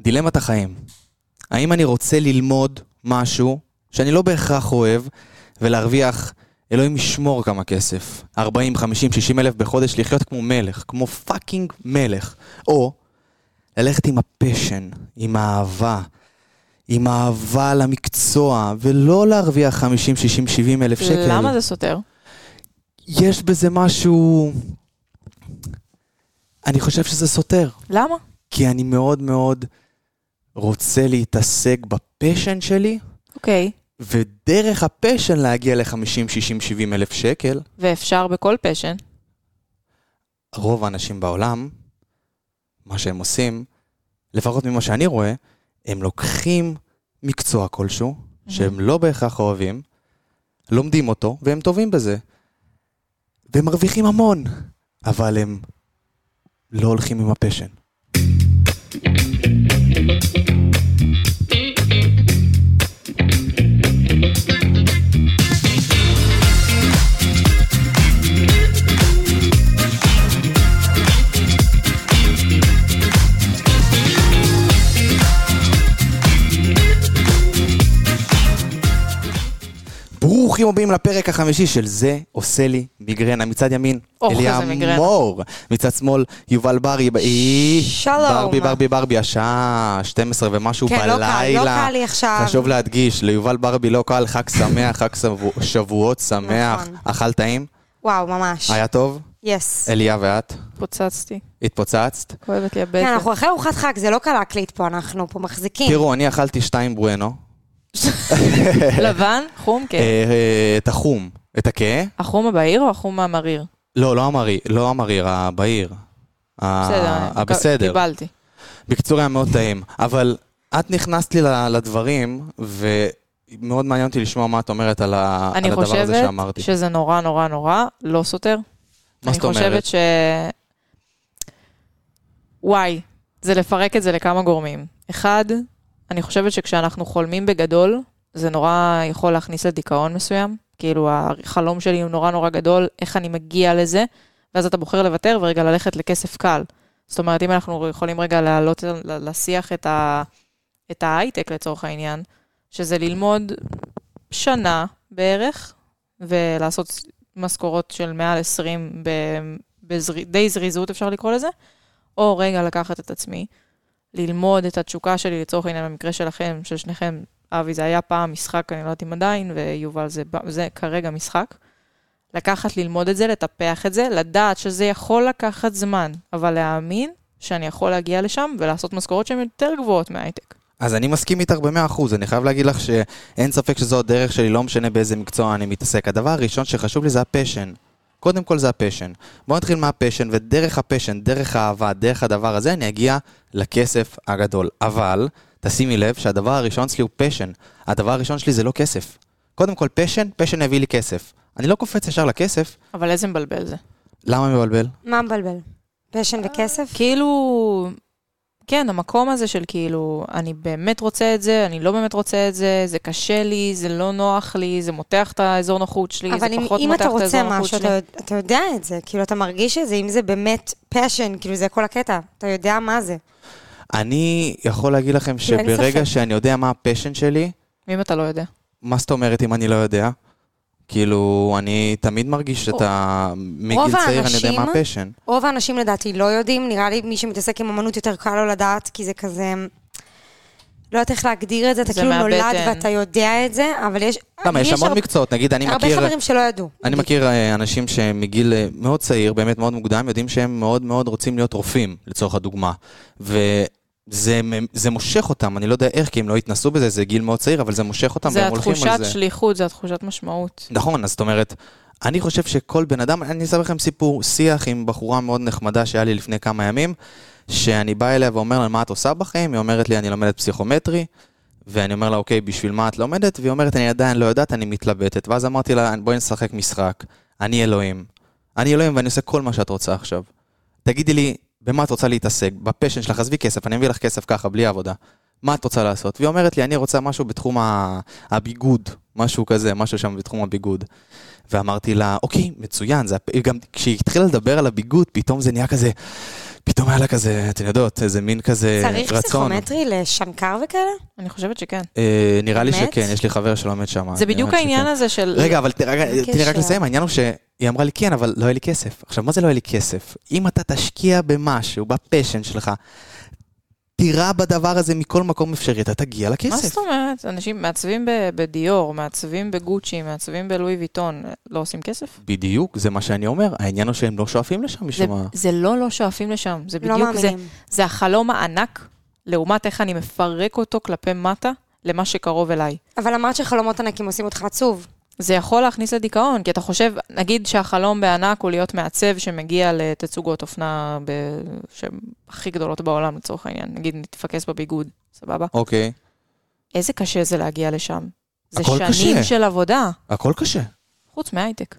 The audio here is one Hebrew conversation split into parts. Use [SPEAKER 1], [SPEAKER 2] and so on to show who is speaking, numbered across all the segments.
[SPEAKER 1] דילמת החיים. האם אני רוצה ללמוד משהו שאני לא בהכרח אוהב ולהרוויח, אלוהים ישמור כמה כסף, 40, 50, 60 אלף בחודש, לחיות כמו מלך, כמו פאקינג מלך, או ללכת עם הפשן, עם האהבה, עם האהבה למקצוע, ולא להרוויח 50, 60, 70 אלף שקל.
[SPEAKER 2] למה זה סותר?
[SPEAKER 1] יש בזה משהו... אני חושב שזה סותר.
[SPEAKER 2] למה?
[SPEAKER 1] כי אני מאוד מאוד רוצה להתעסק בפשן שלי,
[SPEAKER 2] אוקיי.
[SPEAKER 1] ודרך הפשן להגיע ל-50, 60, 70 אלף שקל.
[SPEAKER 2] ואפשר בכל פשן.
[SPEAKER 1] רוב האנשים בעולם, מה שהם עושים, לפחות ממה שאני רואה, הם לוקחים מקצוע כלשהו, שהם לא בהכרח אוהבים, לומדים אותו, והם טובים בזה. והם מרוויחים המון, אבל הם לא הולכים עם הפשן. ברוכים הבאים לפרק החמישי של זה עושה לי מיגרנה. מצד ימין,
[SPEAKER 2] אוח,
[SPEAKER 1] אליה
[SPEAKER 2] איזה מיגרנה.
[SPEAKER 1] מור. מצד שמאל, יובל ברי. אי,
[SPEAKER 3] שלום.
[SPEAKER 1] ברבי, ברבי, ברבי, השעה 12 ומשהו
[SPEAKER 3] כן, לא
[SPEAKER 1] בלילה.
[SPEAKER 3] קל, לא קל לי עכשיו.
[SPEAKER 1] חשוב להדגיש, ליובל ברבי לא קל, חג שמח, חג שבוע- שבועות שמח.
[SPEAKER 3] נכון.
[SPEAKER 1] אכל טעים?
[SPEAKER 3] וואו, ממש.
[SPEAKER 1] היה אה, טוב?
[SPEAKER 3] יס.
[SPEAKER 1] אליה ואת?
[SPEAKER 2] פוצצתי.
[SPEAKER 1] התפוצצת?
[SPEAKER 2] כואבת לי הבטן.
[SPEAKER 3] כן, אנחנו אחרי ארוחת חג, זה לא קל להקליט פה, אנחנו פה מחזיקים.
[SPEAKER 1] אה, תראו, אני אכלתי שתיים ברואנו.
[SPEAKER 2] לבן, חום,
[SPEAKER 1] אה,
[SPEAKER 2] כן.
[SPEAKER 1] אה, את החום. את הכהה?
[SPEAKER 2] החום הבהיר או החום המריר?
[SPEAKER 1] לא, לא המריר, לא המריר, הבהיר. ה-
[SPEAKER 2] בסדר.
[SPEAKER 1] הבסדר.
[SPEAKER 2] קיבלתי.
[SPEAKER 1] בקיצור, היה מאוד טעים. אבל את נכנסת לי ל- לדברים, ומאוד מעניין אותי לשמוע מה את אומרת על ה- על
[SPEAKER 2] אני
[SPEAKER 1] הדבר הזה
[SPEAKER 2] חושבת
[SPEAKER 1] שאמרתי.
[SPEAKER 2] שזה נורא נורא נורא לא סותר.
[SPEAKER 1] מה זאת
[SPEAKER 2] אני חושבת
[SPEAKER 1] אומרת?
[SPEAKER 2] ש... וואי, זה לפרק את זה לכמה גורמים. אחד, אני חושבת שכשאנחנו חולמים בגדול, זה נורא יכול להכניס לדיכאון מסוים. כאילו, החלום שלי הוא נורא נורא גדול, איך אני מגיע לזה, ואז אתה בוחר לוותר ורגע ללכת לכסף קל. זאת אומרת, אם אנחנו יכולים רגע להעלות ל- לשיח את, ה... את ההייטק לצורך העניין, שזה ללמוד שנה בערך, ולעשות משכורות של מעל 20 ב, בזר, די זריזות, אפשר לקרוא לזה, או רגע לקחת את עצמי, ללמוד את התשוקה שלי, לצורך העניין במקרה שלכם, של שניכם, אבי זה היה פעם משחק, אני לא יודעת אם עדיין, ויובל זה, ב- זה כרגע משחק. לקחת, ללמוד את זה, לטפח את זה, לדעת שזה יכול לקחת זמן, אבל להאמין שאני יכול להגיע לשם ולעשות משכורות שהן יותר גבוהות מהייטק.
[SPEAKER 1] אז אני מסכים איתך במאה אחוז, אני חייב להגיד לך שאין ספק שזו הדרך שלי, לא משנה באיזה מקצוע אני מתעסק. הדבר הראשון שחשוב לי זה הפשן. קודם כל זה הפשן. בואו נתחיל מהפשן, ודרך הפשן, דרך האהבה, דרך הדבר הזה, אני אגיע לכסף הגדול. אבל, תשימי לב שהדבר הראשון שלי הוא פשן. הדבר הראשון שלי זה לא כסף. קודם כל פשן, פשן הביא לי כסף. אני לא קופץ ישר לכסף,
[SPEAKER 2] אבל איזה מבלבל זה.
[SPEAKER 1] למה מבלבל?
[SPEAKER 3] מה מבלבל? פשן וכסף?
[SPEAKER 2] כאילו, כן, המקום הזה של כאילו, אני באמת רוצה את זה, אני לא באמת רוצה את זה, זה קשה לי, זה לא נוח לי, זה מותח את האזור נוחות שלי, זה
[SPEAKER 3] אבל אם,
[SPEAKER 2] פחות
[SPEAKER 3] אם
[SPEAKER 2] מותח
[SPEAKER 3] אתה
[SPEAKER 2] את
[SPEAKER 3] רוצה
[SPEAKER 2] האזור נוחות
[SPEAKER 3] משהו,
[SPEAKER 2] שלי.
[SPEAKER 3] אתה, יודע- אתה יודע את זה. כאילו, אתה מרגיש את זה, אם זה באמת פשן, כאילו, זה כל הקטע. אתה יודע מה זה.
[SPEAKER 1] אני יכול להגיד לכם
[SPEAKER 3] אין ספק.
[SPEAKER 1] שברגע שאני יודע מה הפשן שלי,
[SPEAKER 2] ואם אתה לא יודע.
[SPEAKER 1] מה זאת אומרת אם אני לא יודע? כאילו, אני תמיד מרגיש שאתה, מגיל
[SPEAKER 3] רוב
[SPEAKER 1] צעיר אני יודע
[SPEAKER 3] האנשים-
[SPEAKER 1] מה הפשן.
[SPEAKER 3] רוב האנשים לדעתי לא יודעים, נראה לי מי שמתעסק עם אמנות יותר קל לו לדעת, כי זה כזה... לא יודעת איך להגדיר את זה, אתה
[SPEAKER 2] זה
[SPEAKER 3] כאילו נולד
[SPEAKER 2] מהבטן.
[SPEAKER 3] ואתה יודע את זה, אבל אה, יש...
[SPEAKER 1] למה,
[SPEAKER 3] לי
[SPEAKER 1] יש המון
[SPEAKER 3] הרבה-
[SPEAKER 1] מקצועות, נגיד אני
[SPEAKER 3] הרבה
[SPEAKER 1] מכיר,
[SPEAKER 3] חברים שלא ידעו.
[SPEAKER 1] אני מכיר אה, אנשים שמגיל אה, מאוד צעיר, באמת מאוד מוקדם, יודעים שהם מאוד מאוד רוצים להיות רופאים, לצורך הדוגמה. וזה מ- זה מושך אותם, אני לא יודע איך, כי הם לא התנסו בזה, זה גיל מאוד צעיר, אבל זה מושך אותם,
[SPEAKER 2] זה
[SPEAKER 1] והם הולכים על
[SPEAKER 2] התחושת
[SPEAKER 1] זה.
[SPEAKER 2] שליחות, זה התחושת משמעות.
[SPEAKER 1] נכון, אז זאת אומרת, אני חושב שכל בן אדם, אני אספר לכם סיפור, שיח עם בחורה מאוד נחמדה שהיה לי לפני כמה ימים, שאני בא אליה ואומר לה, מה את עושה בחיים? היא אומרת לי, אני לומדת פסיכומטרי, ואני אומר לה, אוקיי, בשביל מה את לומדת? והיא אומרת, אני עדיין לא יודעת, אני מתלבטת. ואז אמרתי לה, בואי נשחק משחק, אני אלוהים. אני אלוהים ואני עושה כל מה שאת רוצה עכשיו. תגידי לי, במה את רוצה להתעסק? בפשן שלך, עזבי כסף, אני מביא לך כסף ככה, בלי עבודה. מה את רוצה לעשות? והיא אומרת לי, אני רוצה משהו בתחום ה... הביגוד, משהו כזה, משהו שם בתחום הביגוד. ואמרתי לה, אוקיי, מצוין. זה, הפ- גם כשהיא התחילה לדבר על הביגוד, פתאום זה נהיה כזה, פתאום היה לה כזה, אתן יודעות, איזה מין כזה אה, רצון.
[SPEAKER 3] צריך פסיכומטרי לשנקר וכאלה?
[SPEAKER 2] אני חושבת שכן.
[SPEAKER 1] אה, נראה לי
[SPEAKER 3] באמת?
[SPEAKER 1] שכן, יש לי חבר שלומד שם.
[SPEAKER 2] זה בדיוק העניין הזה של...
[SPEAKER 1] רגע, אבל ת- רגע, תני לי רק
[SPEAKER 3] הקשר?
[SPEAKER 1] לסיים, העניין הוא שהיא אמרה לי כן, אבל לא היה לי כסף. עכשיו, מה זה לא היה לי כסף? אם אתה תשקיע במשהו, בפשן שלך, תירה בדבר הזה מכל מקום אפשרי, אתה תגיע
[SPEAKER 2] מה
[SPEAKER 1] לכסף.
[SPEAKER 2] זאת אומרת? אנשים מעצבים ב- בדיור, מעצבים בגוצ'י, מעצבים בלואי ויטון, לא עושים כסף?
[SPEAKER 1] בדיוק, זה מה שאני אומר. העניין הוא שהם לא שואפים לשם
[SPEAKER 2] זה,
[SPEAKER 1] משום מה.
[SPEAKER 2] זה לא לא שואפים לשם, זה
[SPEAKER 3] לא
[SPEAKER 2] בדיוק זה.
[SPEAKER 3] מאמינים.
[SPEAKER 2] זה החלום הענק, לעומת איך אני מפרק אותו כלפי מטה, למה שקרוב אליי.
[SPEAKER 3] אבל אמרת שחלומות ענקים עושים אותך עצוב.
[SPEAKER 2] זה יכול להכניס לדיכאון, כי אתה חושב, נגיד שהחלום בענק הוא להיות מעצב שמגיע לתצוגות אופנה ב... שהן הכי גדולות בעולם לצורך העניין, נגיד נתפקס בביגוד, סבבה?
[SPEAKER 1] אוקיי,
[SPEAKER 2] איזה קשה זה להגיע לשם. זה
[SPEAKER 1] הכל
[SPEAKER 2] שנים
[SPEAKER 1] קשה.
[SPEAKER 2] של עבודה,
[SPEAKER 1] הכל קשה.
[SPEAKER 2] חוץ מהייטק.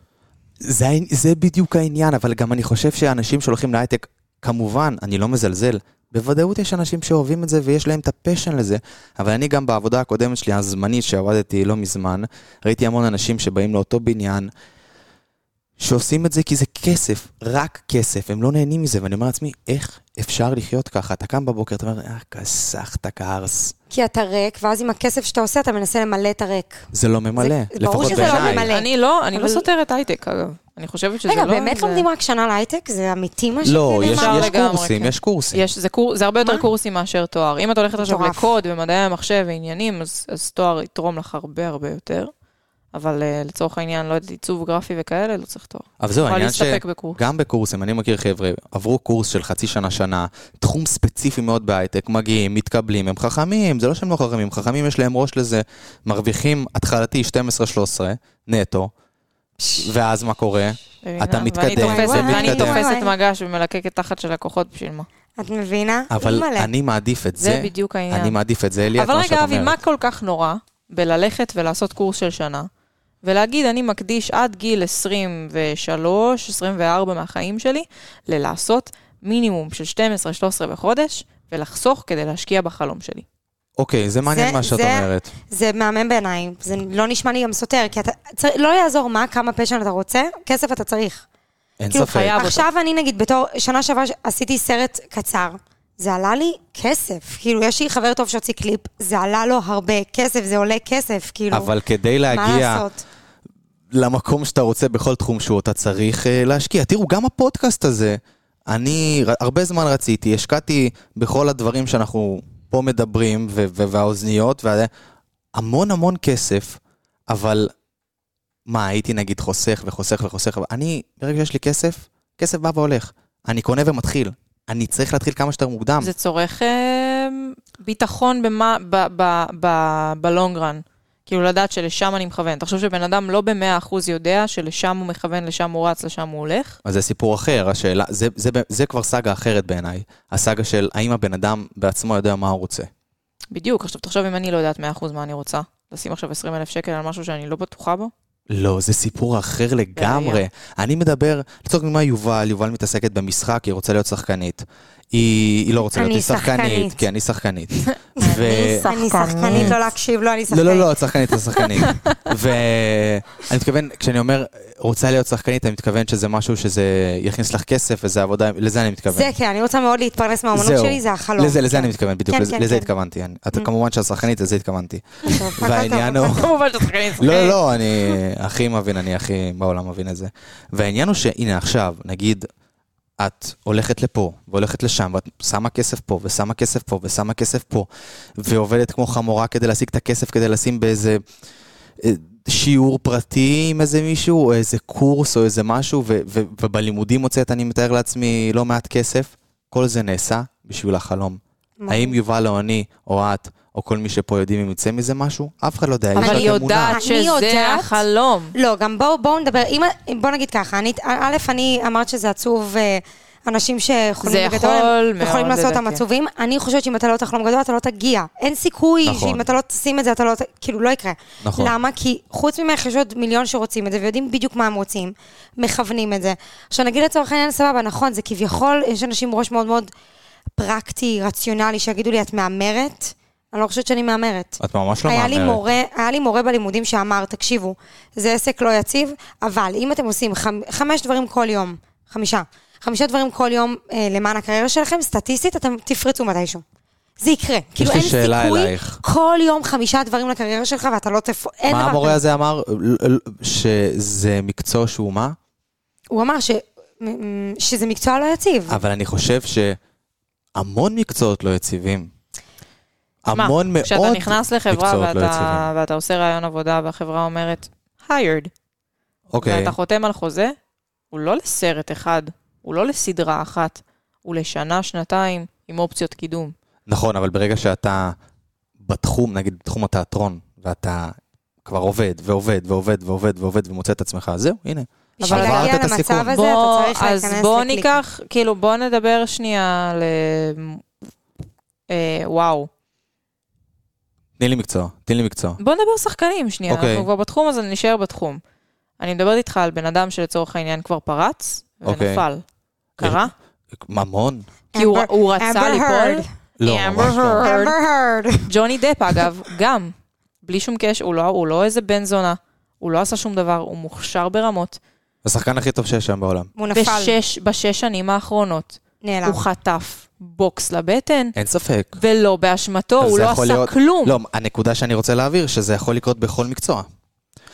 [SPEAKER 1] זה, העני- זה בדיוק העניין, אבל גם אני חושב שאנשים שהולכים להייטק, כמובן, אני לא מזלזל, בוודאות יש אנשים שאוהבים את זה ויש להם את הפשן לזה, אבל אני גם בעבודה הקודמת שלי, הזמנית, שעבדתי לא מזמן, ראיתי המון אנשים שבאים לאותו בניין, שעושים את זה כי זה כסף, רק כסף, הם לא נהנים מזה, ואני אומר לעצמי, איך אפשר לחיות ככה? אתה קם בבוקר, אתה אומר, אה, כסחת כארס.
[SPEAKER 3] כי אתה ריק, ואז עם הכסף שאתה עושה, אתה מנסה למלא את הריק.
[SPEAKER 1] זה לא ממלא,
[SPEAKER 3] זה- ברור
[SPEAKER 1] לפחות
[SPEAKER 3] שזה לא
[SPEAKER 1] בעיניי.
[SPEAKER 3] ממלא. מלא.
[SPEAKER 2] אני לא, אני לא
[SPEAKER 3] אבל-
[SPEAKER 2] סותרת הייטק, אגב. אני חושבת שזה לא...
[SPEAKER 3] רגע, באמת
[SPEAKER 2] זה-
[SPEAKER 3] לומדים רק שנה להייטק? זה אמיתי מה
[SPEAKER 1] לא,
[SPEAKER 3] שזה
[SPEAKER 1] יש,
[SPEAKER 3] נאמר?
[SPEAKER 2] אפשר
[SPEAKER 1] יש
[SPEAKER 2] לגמרי,
[SPEAKER 1] קורסים,
[SPEAKER 2] כן.
[SPEAKER 1] יש קורסים.
[SPEAKER 2] יש, זה, קור, זה הרבה יותר
[SPEAKER 3] מה?
[SPEAKER 2] קורסים מאשר תואר. אם את הולכת עכשיו
[SPEAKER 3] מטורף.
[SPEAKER 2] לקוד ומדעי המחשב ועניינים, אז, אז תואר יתרום לך הרבה הרבה יותר. אבל uh, לצורך העניין, לא יודעת, עיצוב גרפי וכאלה, לא צריך תואר.
[SPEAKER 1] אבל זהו,
[SPEAKER 2] יכול
[SPEAKER 1] העניין ש...
[SPEAKER 2] להסתפק בקורס.
[SPEAKER 1] גם בקורסים, אני מכיר חבר'ה, עברו קורס של חצי שנה, שנה, תחום ספציפי מאוד בהייטק, מגיעים, מתקבלים, הם חכמים, זה לא שהם לא חכמים, חכמים יש להם ראש לזה, מרוויחים התחלתי 12-13 נטו, ואז מה קורה?
[SPEAKER 2] מבינה?
[SPEAKER 1] אתה
[SPEAKER 2] ואני
[SPEAKER 1] מתקדם,
[SPEAKER 2] תופסת-
[SPEAKER 3] זה
[SPEAKER 2] ואני
[SPEAKER 3] מתקדם.
[SPEAKER 2] תופסת
[SPEAKER 3] וואי.
[SPEAKER 2] מגש ומלקקת תחת של לקוחות בשביל מה.
[SPEAKER 3] את מבינה?
[SPEAKER 1] אבל
[SPEAKER 3] מלא.
[SPEAKER 1] אני מעדיף את
[SPEAKER 2] זה,
[SPEAKER 1] זה,
[SPEAKER 2] בדיוק העניין.
[SPEAKER 1] אני מעדיף את זה, אלי, את
[SPEAKER 2] אבל
[SPEAKER 1] מה שאת
[SPEAKER 2] רגע, אבי, מה
[SPEAKER 1] אומרת.
[SPEAKER 2] כל כך נורא בללכת ולעשות קורס של שנה, ולהגיד, אני מקדיש עד גיל 23, 24 מהחיים שלי, ללעשות מינימום של 12, 13 בחודש, ולחסוך כדי להשקיע בחלום שלי.
[SPEAKER 1] אוקיי, זה מעניין
[SPEAKER 3] זה-
[SPEAKER 1] מה שאת
[SPEAKER 3] זה-
[SPEAKER 1] אומרת.
[SPEAKER 3] זה מהמם בעיניי, זה לא נשמע לי גם סותר, כי אתה, צר, לא יעזור מה, כמה פשן אתה רוצה, כסף אתה צריך.
[SPEAKER 1] אין
[SPEAKER 3] כאילו,
[SPEAKER 1] ספק.
[SPEAKER 2] חייב. אותו.
[SPEAKER 3] עכשיו אני נגיד, בתור, שנה שעברה ש- עשיתי סרט קצר, זה עלה לי כסף, כאילו, יש לי חבר טוב שהוציא קליפ, זה עלה לו הרבה כסף, זה עולה כסף, כאילו,
[SPEAKER 1] אבל כדי
[SPEAKER 3] מה
[SPEAKER 1] להגיע
[SPEAKER 3] לעשות?
[SPEAKER 1] למקום שאתה רוצה בכל תחום שהוא, אתה צריך אה, להשקיע. תראו, גם הפודקאסט הזה, אני ר- הרבה זמן רציתי, השקעתי בכל הדברים שאנחנו פה מדברים, ו- ו- והאוזניות, וה- המון המון כסף, אבל מה, הייתי נגיד חוסך וחוסך וחוסך, אבל אני, ברגע שיש לי כסף, כסף בא והולך. אני קונה ומתחיל. אני צריך להתחיל כמה שיותר מוקדם.
[SPEAKER 2] זה צורך אה, ביטחון במה- ב- ב- ב- בלונגרן. כאילו לדעת שלשם אני מכוון. תחשוב שבן אדם לא ב-100% יודע שלשם הוא מכוון, לשם הוא רץ, לשם הוא הולך.
[SPEAKER 1] אז זה סיפור אחר, השאלה, זה, זה, זה, זה כבר סאגה אחרת בעיניי. הסאגה של האם הבן אדם בעצמו יודע מה הוא רוצה.
[SPEAKER 2] בדיוק, עכשיו תחשוב אם אני לא יודעת 100% מה אני רוצה. לשים עכשיו 20,000 שקל על משהו שאני לא בטוחה בו?
[SPEAKER 1] לא, זה סיפור אחר לגמרי.
[SPEAKER 2] בעיה.
[SPEAKER 1] אני מדבר, לצורך דוגמה יובל, יובל מתעסקת במשחק, היא רוצה להיות שחקנית. היא, היא לא רוצה להיות,
[SPEAKER 3] אני
[SPEAKER 1] היא שחקנית.
[SPEAKER 3] שחקנית.
[SPEAKER 1] כן, היא שחקנית. ו...
[SPEAKER 2] אני שחקנית.
[SPEAKER 3] אני שחקנית, לא להקשיב, לא, אני שחקנית.
[SPEAKER 1] לא, לא, לא, את שחקנית, את שחקנית. ואני מתכוון, כשאני אומר רוצה להיות שחקנית, אני מתכוון שזה משהו שזה יכניס לך כסף וזה עבודה, לזה אני מתכוון.
[SPEAKER 3] זה כן, אני רוצה מאוד להתפרנס מהאומנות
[SPEAKER 1] זהו.
[SPEAKER 3] שלי, זה החלום.
[SPEAKER 1] לזה, לזה אני מתכוון, בדיוק,
[SPEAKER 3] כן,
[SPEAKER 1] לזה
[SPEAKER 3] כן,
[SPEAKER 1] לזה
[SPEAKER 3] כן.
[SPEAKER 1] התכוונתי. אני- את
[SPEAKER 3] Mm.
[SPEAKER 1] כמובן שאת שחקנית, לזה התכוונתי.
[SPEAKER 3] טוב, הכל טוב,
[SPEAKER 1] והעניין
[SPEAKER 3] הכל
[SPEAKER 1] הוא-
[SPEAKER 3] טוב.
[SPEAKER 2] כמובן שאת שחקנית.
[SPEAKER 1] לא, לא, לא, אני הכי מבין, אני הכי בעולם מבין את זה. והעניין הוא שהנה עכשיו, נגיד, את הולכת לפה, והולכת לשם, ואת שמה כסף פה, ושמה כסף פה, ושמה כסף פה, ועובדת כמו חמורה כדי להשיג את הכסף, כדי לשים באיזה אה, שיעור פרטי עם איזה מישהו, או איזה קורס, או איזה משהו, ו- ו- ובלימודים מוצאת, אני מתאר לעצמי, לא מעט כסף. כל זה נעשה בשביל החלום.
[SPEAKER 2] נכון.
[SPEAKER 1] האם יובל או אני, או את, או כל מי שפה יודעים אם יצא מזה משהו? אף אחד לא יודע, יש רק
[SPEAKER 2] אבל
[SPEAKER 1] אמונה.
[SPEAKER 2] היא יודעת
[SPEAKER 3] אני
[SPEAKER 2] שזה
[SPEAKER 3] יודעת.
[SPEAKER 2] החלום.
[SPEAKER 3] לא, גם בואו בוא נדבר, אם, בוא נגיד ככה, אני, א', אני אמרת שזה עצוב, אה, אנשים
[SPEAKER 2] זה
[SPEAKER 3] שחולמים בגדול,
[SPEAKER 2] יכול
[SPEAKER 3] הם
[SPEAKER 2] מאוד,
[SPEAKER 3] יכולים לעשות אותם
[SPEAKER 2] לדעתי.
[SPEAKER 3] עצובים, אני חושבת שאם אתה לא תחלום גדול, אתה לא תגיע. אין סיכוי
[SPEAKER 1] נכון.
[SPEAKER 3] שאם אתה לא תשים את זה, אתה לא, ת- כאילו, לא יקרה.
[SPEAKER 1] נכון.
[SPEAKER 3] למה? כי חוץ ממך יש עוד מיליון שרוצים את זה, ויודעים בדיוק מה הם רוצים, מכוונים את זה. עכשיו נגיד לצורך העניין, סבבה, נכון, זה כביכול, יש אנשים עם ראש מאוד מאוד פרקטי, רציונלי, שיגידו לי, את מהמרת? אני לא חושבת שאני מהמרת.
[SPEAKER 1] את ממש לא
[SPEAKER 3] היה לי,
[SPEAKER 1] מהמרת.
[SPEAKER 3] מורה, היה לי מורה בלימודים שאמר, תקשיבו, זה עסק לא יציב, אבל אם אתם עושים חמ, חמש דברים כל יום, חמישה, חמישה דברים כל יום אה, למען הקריירה שלכם, סטטיסטית אתם תפרצו מתישהו. זה יקרה. כאילו
[SPEAKER 1] לי
[SPEAKER 3] אין
[SPEAKER 1] שאלה
[SPEAKER 3] סיכוי
[SPEAKER 1] אלייך.
[SPEAKER 3] כל יום חמישה דברים לקריירה שלך ואתה לא תפ... אין
[SPEAKER 1] מה
[SPEAKER 3] דבר
[SPEAKER 1] המורה
[SPEAKER 3] כזה.
[SPEAKER 1] הזה אמר? ל- ל- שזה מקצוע שהוא מה?
[SPEAKER 3] הוא אמר ש... מ- מ- שזה מקצוע לא יציב.
[SPEAKER 1] אבל אני חושב שהמון מקצועות לא יציבים. המון
[SPEAKER 2] מה,
[SPEAKER 1] מאוד
[SPEAKER 2] כשאתה נכנס לחברה
[SPEAKER 1] מקצועות לא
[SPEAKER 2] ואתה,
[SPEAKER 1] יציבים.
[SPEAKER 2] ואתה עושה רעיון עבודה והחברה אומרת, hired,
[SPEAKER 1] אוקיי,
[SPEAKER 2] ואתה חותם על חוזה, הוא לא לסרט אחד, הוא לא לסדרה אחת, הוא לשנה, שנתיים, עם אופציות קידום.
[SPEAKER 1] נכון, אבל ברגע שאתה בתחום, נגיד בתחום התיאטרון, ואתה כבר עובד ועובד ועובד ועובד ועובד ומוצא את עצמך, אז זהו, הנה.
[SPEAKER 3] בשביל
[SPEAKER 1] עברת
[SPEAKER 3] להגיע
[SPEAKER 1] את
[SPEAKER 3] למצב
[SPEAKER 1] הסיכון.
[SPEAKER 3] הזה, אתה
[SPEAKER 2] בוא,
[SPEAKER 3] צריך
[SPEAKER 2] אז
[SPEAKER 3] להיכנס
[SPEAKER 2] בוא
[SPEAKER 3] לקליק.
[SPEAKER 2] ניקח, כאילו, בוא נדבר שנייה ל... אה, וואו.
[SPEAKER 1] תני לי מקצוע, תני לי מקצוע.
[SPEAKER 2] בוא נדבר שחקנים שנייה.
[SPEAKER 1] אוקיי.
[SPEAKER 2] אנחנו כבר בתחום, אז אני נשאר בתחום. אני מדברת איתך על בן אדם שלצורך העניין כבר פרץ,
[SPEAKER 1] אוקיי.
[SPEAKER 2] ונפל. קרה?
[SPEAKER 3] אמ-
[SPEAKER 1] ממון?
[SPEAKER 2] כי הוא-
[SPEAKER 3] Amber-
[SPEAKER 2] הוא רצה
[SPEAKER 3] Amber
[SPEAKER 2] ליפול.
[SPEAKER 3] Heard.
[SPEAKER 1] לא,
[SPEAKER 2] Amber
[SPEAKER 1] ממש לא.
[SPEAKER 2] Heard.
[SPEAKER 3] Amber Heard.
[SPEAKER 2] ג'וני דפ, אגב, גם. בלי שום קשר, הוא לא, הוא לא איזה בן זונה. הוא לא עשה שום דבר, הוא מוכשר ברמות.
[SPEAKER 1] השחקן הכי טוב שיש היום בעולם.
[SPEAKER 3] הוא נפל,
[SPEAKER 2] בשש, בשש שנים האחרונות,
[SPEAKER 3] נעלם.
[SPEAKER 2] הוא חטף בוקס לבטן,
[SPEAKER 1] אין ספק.
[SPEAKER 2] ולא באשמתו,
[SPEAKER 1] אבל
[SPEAKER 2] הוא
[SPEAKER 1] זה
[SPEAKER 2] לא עשה
[SPEAKER 1] יכול להיות-
[SPEAKER 2] כלום.
[SPEAKER 1] לא, הנקודה שאני רוצה להעביר, שזה יכול לקרות בכל מקצוע.